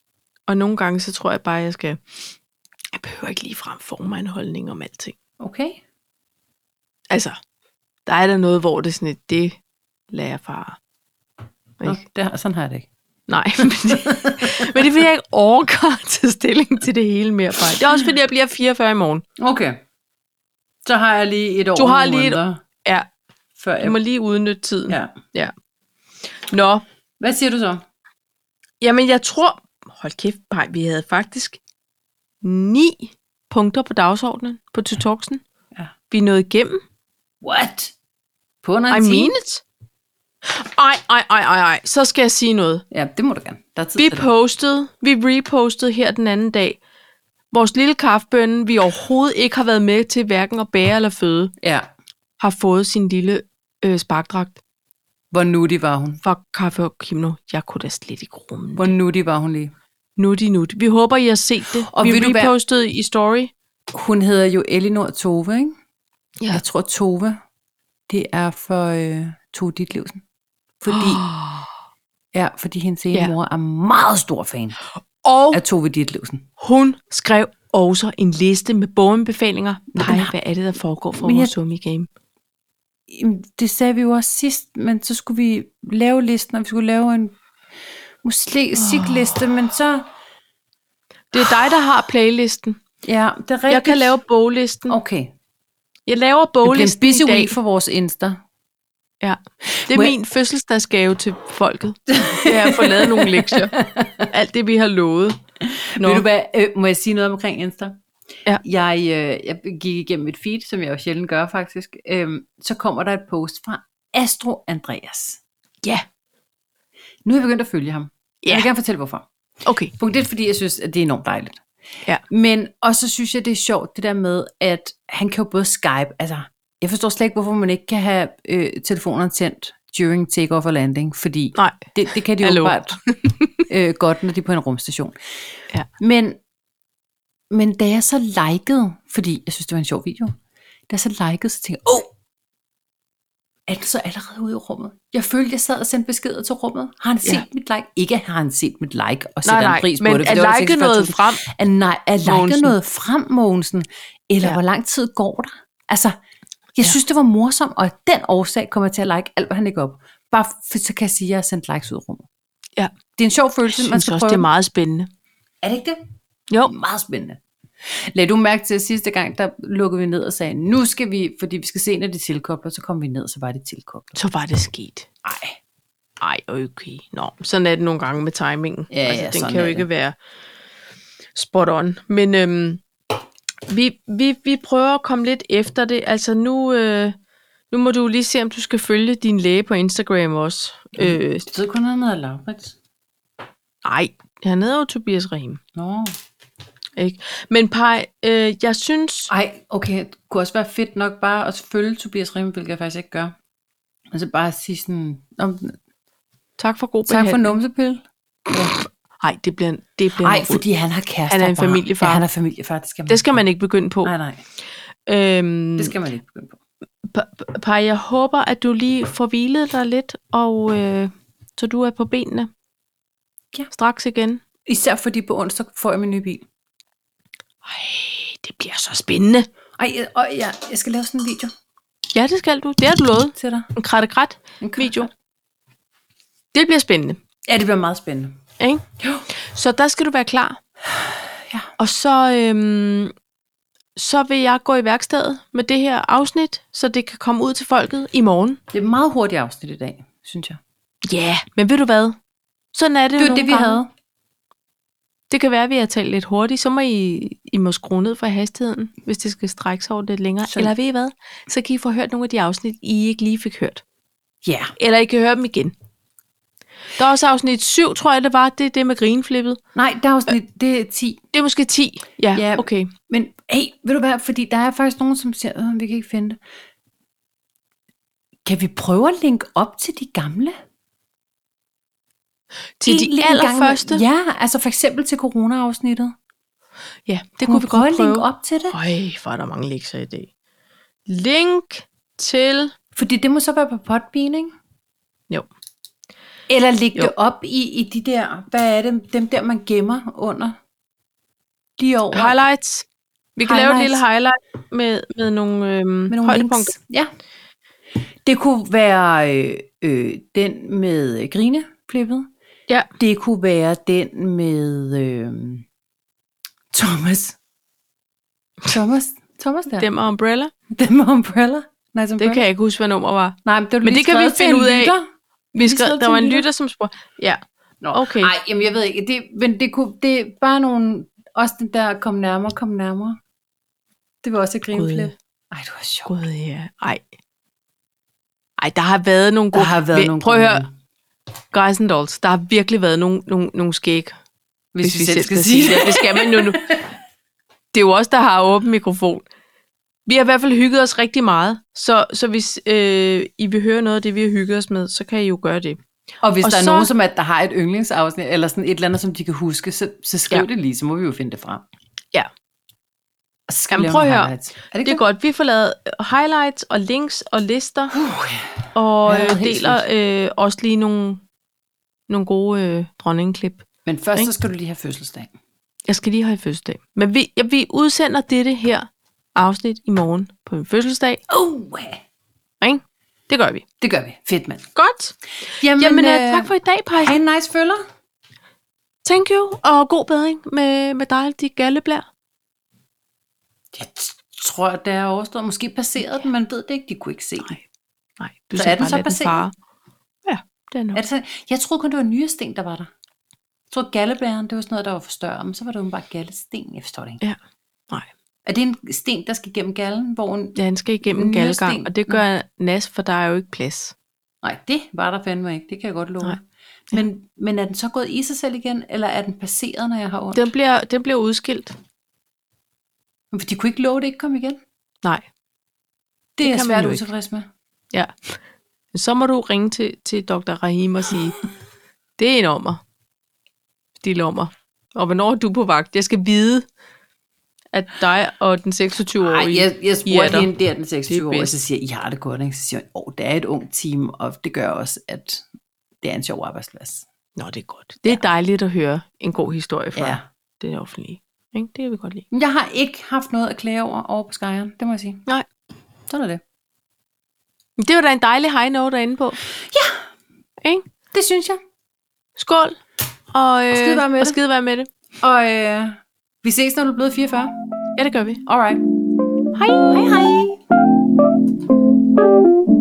[SPEAKER 1] Og nogle gange, så tror jeg bare, jeg skal, jeg behøver ikke ligefrem forme mig en holdning om alting.
[SPEAKER 2] Okay.
[SPEAKER 1] Altså, der er der noget, hvor det er sådan et, det lader jeg fare.
[SPEAKER 2] Nå, det har, sådan har jeg det ikke.
[SPEAKER 1] Nej, men det, men det er fordi, jeg ikke orker at tage stilling til det hele mere. Bare. Det er også fordi, jeg bliver 44 i morgen.
[SPEAKER 2] Okay. Så har jeg lige et år.
[SPEAKER 1] Du har
[SPEAKER 2] og nogle
[SPEAKER 1] lige et-
[SPEAKER 2] måneder,
[SPEAKER 1] Ja,
[SPEAKER 2] Før
[SPEAKER 1] jeg
[SPEAKER 2] jeg...
[SPEAKER 1] må lige udnytte tiden. Ja.
[SPEAKER 2] Ja.
[SPEAKER 1] Nå,
[SPEAKER 2] Hvad siger du så?
[SPEAKER 1] jamen jeg tror... Hold kæft, nej, vi havde faktisk ni punkter på dagsordenen på Tytorksen.
[SPEAKER 2] Ja.
[SPEAKER 1] Vi nåede igennem.
[SPEAKER 2] What? På en
[SPEAKER 1] I mean it. Ej, ej, ej, ej, ej. Så skal jeg sige noget.
[SPEAKER 2] Ja, det må du gerne. Der er tid
[SPEAKER 1] Vi
[SPEAKER 2] til det.
[SPEAKER 1] postede, vi repostede her den anden dag, vores lille kaffebønne, vi overhovedet ikke har været med til hverken at bære eller føde.
[SPEAKER 2] Ja.
[SPEAKER 1] har fået sin lille øh, sparkdragt
[SPEAKER 2] Hvor nuttig var hun?
[SPEAKER 1] fra Kaffe og Kimno. Jeg kunne da slet ikke rumme
[SPEAKER 2] Hvor
[SPEAKER 1] det.
[SPEAKER 2] nuttig var hun lige?
[SPEAKER 1] Nutti nutti. Vi håber, I har set det.
[SPEAKER 2] Og
[SPEAKER 1] vi
[SPEAKER 2] vil du være-
[SPEAKER 1] repostede i story.
[SPEAKER 2] Hun hedder jo Elinor Tove, ikke?
[SPEAKER 1] Ja.
[SPEAKER 2] Jeg tror Tove, det er for øh, Tove Ditlevsen. Fordi, ja, fordi hendes ene
[SPEAKER 1] Ja.
[SPEAKER 2] ja. mor er meget stor fan
[SPEAKER 1] Og
[SPEAKER 2] af Tove Ditlevsen.
[SPEAKER 1] hun skrev også en liste med bogenbefalinger. Nej,
[SPEAKER 2] har-
[SPEAKER 1] hvad er det, der foregår for
[SPEAKER 2] Men jeg-
[SPEAKER 1] vores summi game?
[SPEAKER 2] Jamen, Det sagde vi jo også sidst, men så skulle vi lave listen, og vi skulle lave en musikliste, oh. men så...
[SPEAKER 1] Det er dig, der har playlisten.
[SPEAKER 2] Ja, det er rigtigt.
[SPEAKER 1] Jeg kan lave boglisten.
[SPEAKER 2] Okay.
[SPEAKER 1] Jeg laver
[SPEAKER 2] Det bliver en
[SPEAKER 1] boglisten
[SPEAKER 2] busy
[SPEAKER 1] i dag.
[SPEAKER 2] week for vores Insta.
[SPEAKER 1] Ja. Det er
[SPEAKER 2] Må jeg-
[SPEAKER 1] min fødselsdagsgave til folket. Det er at få lavet nogle lektier. Alt det, vi har lovet. Nå.
[SPEAKER 2] Nå. Ved du hvad, øh, må jeg sige noget omkring Insta?
[SPEAKER 1] Ja.
[SPEAKER 2] Jeg, øh, jeg gik igennem et feed, som jeg jo sjældent gør faktisk. Øhm, så kommer der et post fra Astro Andreas.
[SPEAKER 1] Ja.
[SPEAKER 2] Nu er jeg begyndt at følge ham. Ja. Jeg
[SPEAKER 1] Ja.
[SPEAKER 2] vil gerne fortælle hvorfor.
[SPEAKER 1] Okay.
[SPEAKER 2] Punkt et, fordi jeg synes, at det er enormt dejligt.
[SPEAKER 1] Ja.
[SPEAKER 2] Men også synes jeg, det er sjovt det der med, at han kan jo både Skype, altså jeg forstår slet ikke, hvorfor man ikke kan have øh, telefonerne tændt during takeoff og landing, fordi
[SPEAKER 1] Nej.
[SPEAKER 2] det, det kan de
[SPEAKER 1] Hallo.
[SPEAKER 2] jo bare øh, godt, når de er på en rumstation.
[SPEAKER 1] Ja.
[SPEAKER 2] Men, men da jeg så likede, fordi jeg synes, det var en sjov video, da jeg så likede, så tænkte jeg, åh, oh, er den så allerede ude i rummet? Jeg følte, jeg sad og sendte beskeder til rummet. Har han set
[SPEAKER 1] Ja.
[SPEAKER 2] ja. mit like? Ikke har han set mit like og
[SPEAKER 1] Nej,
[SPEAKER 2] sætter
[SPEAKER 1] nej,
[SPEAKER 2] en pris
[SPEAKER 1] men
[SPEAKER 2] på det. for
[SPEAKER 1] at
[SPEAKER 2] det var der
[SPEAKER 1] like
[SPEAKER 2] 46.000.
[SPEAKER 1] noget frem,
[SPEAKER 2] At, nej, at like
[SPEAKER 1] Mogensen.
[SPEAKER 2] noget frem, Mogensen. Eller
[SPEAKER 1] Ja.
[SPEAKER 2] ja. hvor lang tid går der? Altså, jeg
[SPEAKER 1] Ja.
[SPEAKER 2] ja. synes, det var morsomt, og af den årsag kommer jeg til at like alt, hvad han lægger op. Bare for, så kan jeg sige, at jeg har sendt likes ud i rummet.
[SPEAKER 1] Ja.
[SPEAKER 2] Det er en sjov følelse,
[SPEAKER 1] synes
[SPEAKER 2] man skal
[SPEAKER 1] også,
[SPEAKER 2] prøve.
[SPEAKER 1] det er meget spændende.
[SPEAKER 2] Er det ikke det?
[SPEAKER 1] Jo.
[SPEAKER 2] Det er meget spændende. Lad du mærke til, at sidste gang, der lukkede vi ned og sagde, nu skal vi, fordi vi skal se, når de tilkobler, så kom vi ned, så var de tilkoblet.
[SPEAKER 1] Så var det sket.
[SPEAKER 2] Ej,
[SPEAKER 1] Ej, okay. Nå, sådan er det nogle gange med timingen. Altså,
[SPEAKER 2] Ja, ja,
[SPEAKER 1] den
[SPEAKER 2] sådan
[SPEAKER 1] kan jo
[SPEAKER 2] er
[SPEAKER 1] ikke
[SPEAKER 2] det.
[SPEAKER 1] være spot on. Men øhm, vi, vi, vi prøver at komme lidt efter det. Altså nu, øh, nu må du lige se, om du skal følge din læge på Instagram også.
[SPEAKER 2] Mm.
[SPEAKER 1] Øh,
[SPEAKER 2] det ved kun noget, Laurits.
[SPEAKER 1] nej, han hedder jo Tobias Rahim.
[SPEAKER 2] Nå,
[SPEAKER 1] Ikke? Men Paj, øh, jeg synes...
[SPEAKER 2] Ej, okay, det kunne også være fedt nok bare at følge Tobias Rimmel, hvilket jeg faktisk ikke gør. Altså bare at sige sådan, om,
[SPEAKER 1] Tak for god
[SPEAKER 2] tak for
[SPEAKER 1] behandling.
[SPEAKER 2] numsepille.
[SPEAKER 1] Nej, det bliver, det bliver
[SPEAKER 2] Nej,
[SPEAKER 1] noget rod.
[SPEAKER 2] fordi han har kæreste.
[SPEAKER 1] Han er
[SPEAKER 2] og
[SPEAKER 1] en
[SPEAKER 2] barn.
[SPEAKER 1] familiefar.
[SPEAKER 2] Ja, han er familiefar, det skal man
[SPEAKER 1] Det skal man ikke begynde på.
[SPEAKER 2] Nej, nej,
[SPEAKER 1] Øhm,
[SPEAKER 2] det skal man ikke begynde på.
[SPEAKER 1] P- Paj, jeg håber, at du lige får hvilet dig lidt, og øh, så du er på benene
[SPEAKER 2] Ja.
[SPEAKER 1] straks igen.
[SPEAKER 2] Især fordi på onsdag får jeg min nye bil.
[SPEAKER 1] Ej, det bliver så spændende.
[SPEAKER 2] Ej, jeg- og jeg, jeg skal lave sådan en video
[SPEAKER 1] Ja, det skal du. Det har du lovet.
[SPEAKER 2] til dig.
[SPEAKER 1] En kratte krat
[SPEAKER 2] En
[SPEAKER 1] video. Det bliver spændende.
[SPEAKER 2] Ja, det bliver meget spændende.
[SPEAKER 1] Ikke?
[SPEAKER 2] Jo.
[SPEAKER 1] Så der skal du være klar.
[SPEAKER 2] Ja.
[SPEAKER 1] Og så, øhm, så vil jeg gå i værkstedet med det her afsnit, så det kan komme ud til folket i morgen.
[SPEAKER 2] Det er et meget hurtigt afsnit i dag, synes jeg.
[SPEAKER 1] Ja, yeah. men ved du hvad? Sådan er det,
[SPEAKER 2] Det
[SPEAKER 1] jo
[SPEAKER 2] var
[SPEAKER 1] nogle
[SPEAKER 2] det, vi
[SPEAKER 1] gange.
[SPEAKER 2] havde.
[SPEAKER 1] Det kan være, at vi har talt lidt hurtigt. Så må I, I må skrue ned for hastigheden, hvis det skal strække sig over lidt længere.
[SPEAKER 2] Så-
[SPEAKER 1] Sådan. Eller ved I hvad? Så kan I få hørt nogle af de afsnit, I ikke lige fik hørt.
[SPEAKER 2] Ja.
[SPEAKER 1] Eller I kan høre dem igen. Der er også afsnit 7, tror jeg det var. Det er det med grinflippet.
[SPEAKER 2] Nej, der er afsnit, det er 10.
[SPEAKER 1] Det er måske 10. Ja,
[SPEAKER 2] Ja.
[SPEAKER 1] ja. okay.
[SPEAKER 2] Men hey, ved du hvad, fordi der er faktisk nogen, som siger, at vi kan ikke finde det. Kan vi prøve at linke op til de gamle?
[SPEAKER 1] Til
[SPEAKER 2] Egentlig
[SPEAKER 1] de
[SPEAKER 2] en gang imellem.
[SPEAKER 1] allerførste. Ja,
[SPEAKER 2] Ja, altså for eksempel til corona-afsnittet.
[SPEAKER 1] ja det
[SPEAKER 2] Kunne
[SPEAKER 1] kunne vi
[SPEAKER 2] vi prøve
[SPEAKER 1] godt
[SPEAKER 2] at
[SPEAKER 1] prøve.
[SPEAKER 2] linke op til det?
[SPEAKER 1] Øj, hvor er der mange lektier i dag. Link til...
[SPEAKER 2] Fordi det må så være på Podbean, ikke?
[SPEAKER 1] Jo.
[SPEAKER 2] Eller lægge
[SPEAKER 1] Jo.
[SPEAKER 2] det op i, i de der, hvad er det, dem der, man gemmer under. Lige over.
[SPEAKER 1] Highlights. Vi kan highlights. lave et lille
[SPEAKER 2] Highlights.
[SPEAKER 1] highlight med, med nogle, øhm,
[SPEAKER 2] Med nogle
[SPEAKER 1] højdepunkter.
[SPEAKER 2] links. Ja. Det kunne være øh, øh, den med øh, grineflippet.
[SPEAKER 1] Ja.
[SPEAKER 2] Det kunne være den med øh, Thomas. Thomas? Thomas der?
[SPEAKER 1] Dem og Umbrella.
[SPEAKER 2] Den med Umbrella? Nej,
[SPEAKER 1] Det
[SPEAKER 2] umbrella.
[SPEAKER 1] kan jeg ikke huske, hvad nummer var.
[SPEAKER 2] Nej, men det, var
[SPEAKER 1] Men
[SPEAKER 2] lige
[SPEAKER 1] det kan vi
[SPEAKER 2] skrevet til
[SPEAKER 1] finde
[SPEAKER 2] en
[SPEAKER 1] ud af.
[SPEAKER 2] lytter.
[SPEAKER 1] Vi skrev,
[SPEAKER 2] skrev
[SPEAKER 1] der
[SPEAKER 2] til
[SPEAKER 1] var en
[SPEAKER 2] en
[SPEAKER 1] lytter, som spurgte. Ja,
[SPEAKER 2] Nå,
[SPEAKER 1] Okay.
[SPEAKER 2] Nej, jamen jeg ved ikke. Det, men det, kunne, det er bare nogle... Også den der, kom nærmere, kom nærmere. Det var også et grinflip. Ej, det var sjovt.
[SPEAKER 1] gud ja. Ej. Ej, der har været nogle gode...
[SPEAKER 2] Der har været
[SPEAKER 1] Ved-
[SPEAKER 2] nogle
[SPEAKER 1] Prøv at
[SPEAKER 2] gode
[SPEAKER 1] høre, Guys and Dolls, der har virkelig været nogle, nogle, nogle skæg, hvis,
[SPEAKER 2] Hvis,
[SPEAKER 1] vi, selv skal sige det. Det skal man jo nu. Det er jo os, der har åben mikrofon. Vi har i hvert fald hygget os rigtig meget, så, så hvis øh, I vil høre noget af det, vi har hygget os med, så kan I jo gøre det.
[SPEAKER 2] Og hvis
[SPEAKER 1] Og
[SPEAKER 2] og der så...
[SPEAKER 1] så-
[SPEAKER 2] er nogen, som er, der har et yndlingsafsnit, eller sådan et eller andet, som de kan huske, så, så skriv
[SPEAKER 1] Ja.
[SPEAKER 2] ja. det lige, så må vi jo finde det frem.
[SPEAKER 1] Ja.
[SPEAKER 2] Og så
[SPEAKER 1] Jamen, prøv at høre.
[SPEAKER 2] Er det
[SPEAKER 1] Det er
[SPEAKER 2] ikke
[SPEAKER 1] godt. Vi får lavet highlights og links og lister,
[SPEAKER 2] Uh,
[SPEAKER 1] og
[SPEAKER 2] Ja,
[SPEAKER 1] øh,
[SPEAKER 2] helt
[SPEAKER 1] deler øh, også lige nogle, nogle gode øh, dronningeklip.
[SPEAKER 2] Men først
[SPEAKER 1] Ikke?
[SPEAKER 2] så skal du lige have fødselsdag.
[SPEAKER 1] Jeg skal lige have fødselsdag. Men vi, ja, vi udsender dette her afsnit i morgen på min fødselsdag.
[SPEAKER 2] Uh,
[SPEAKER 1] Oh, Ikke? Det gør vi.
[SPEAKER 2] det gør vi. Fedt, mand.
[SPEAKER 1] Godt.
[SPEAKER 2] Jamen,
[SPEAKER 1] Jamen, øh, tak for i dag, Paj.
[SPEAKER 2] Ha' en nice følger.
[SPEAKER 1] Thank you, og god bedring med, med dig, de galleblær.
[SPEAKER 2] Jeg t- tror, at det er overstået. Måske passeret den, man ved det ikke. De kunne ikke se den.
[SPEAKER 1] Nej, du
[SPEAKER 2] Så
[SPEAKER 1] skal
[SPEAKER 2] er den
[SPEAKER 1] bare
[SPEAKER 2] så
[SPEAKER 1] lade
[SPEAKER 2] passé?
[SPEAKER 1] fare. Ja, det er nok.
[SPEAKER 2] Er det sådan? Altså, Jeg troede kun, det var nyresten, der var der. Jeg troede, gallebæren, det var sådan noget, der var for større, men så var det jo bare gallesten, jeg forstår det ikke.
[SPEAKER 1] Ja. Nej.
[SPEAKER 2] Er det en sten, der skal gennem gallen, hvor en...
[SPEAKER 1] Ja, han skal igennem
[SPEAKER 2] En lille
[SPEAKER 1] gallegang,
[SPEAKER 2] sten.
[SPEAKER 1] og det gør Nas, for der er jo ikke plads.
[SPEAKER 2] Nej, det var der fandme ikke, det kan jeg godt love.
[SPEAKER 1] Nej.
[SPEAKER 2] Men, men er den så gået i sig selv igen, eller er den passeret, når jeg har ondt?
[SPEAKER 1] Den bliver, den bliver udskilt.
[SPEAKER 2] Men De kunne ikke love, at det ikke kom igen. Det,
[SPEAKER 1] Nej.
[SPEAKER 2] det er
[SPEAKER 1] kan
[SPEAKER 2] jeg
[SPEAKER 1] man
[SPEAKER 2] svært
[SPEAKER 1] jo ikke.
[SPEAKER 2] utilfreds med.
[SPEAKER 1] Ja. Så må du ringe til, til Dr. Rahim og sige, det er en ommer. De lommer. Og hvornår er du på vagt? Jeg skal vide, at dig og den 26-årige...
[SPEAKER 2] Nej, jeg, jeg
[SPEAKER 1] I er der.
[SPEAKER 2] spurgte hende der den 26
[SPEAKER 1] Det er
[SPEAKER 2] år, og
[SPEAKER 1] bedst.
[SPEAKER 2] så siger jeg, I har det godt, ikke? Så siger hun, åh, det er et ung team, og det gør også, at det er en sjov arbejdsplads.
[SPEAKER 1] Nå, det er godt. Det er dejligt at høre en god historie fra ja.
[SPEAKER 2] Ja.
[SPEAKER 1] det offentlige. Ikke? Det kan vi godt lide.
[SPEAKER 2] Jeg har ikke haft noget at klage over over på Skyeren, det må jeg sige.
[SPEAKER 1] Nej.
[SPEAKER 2] Sådan er det.
[SPEAKER 1] Men det var da en dejlig high note derinde på. Ja. Ikke?
[SPEAKER 2] Det synes jeg.
[SPEAKER 1] Skål. Og, øh, og
[SPEAKER 2] skide være med
[SPEAKER 1] og
[SPEAKER 2] det.
[SPEAKER 1] skide være med det.
[SPEAKER 2] Og øh, vi ses, når du er blevet 44.
[SPEAKER 1] Ja, det gør vi.
[SPEAKER 2] Alright.
[SPEAKER 1] Hej.
[SPEAKER 2] Hej hej.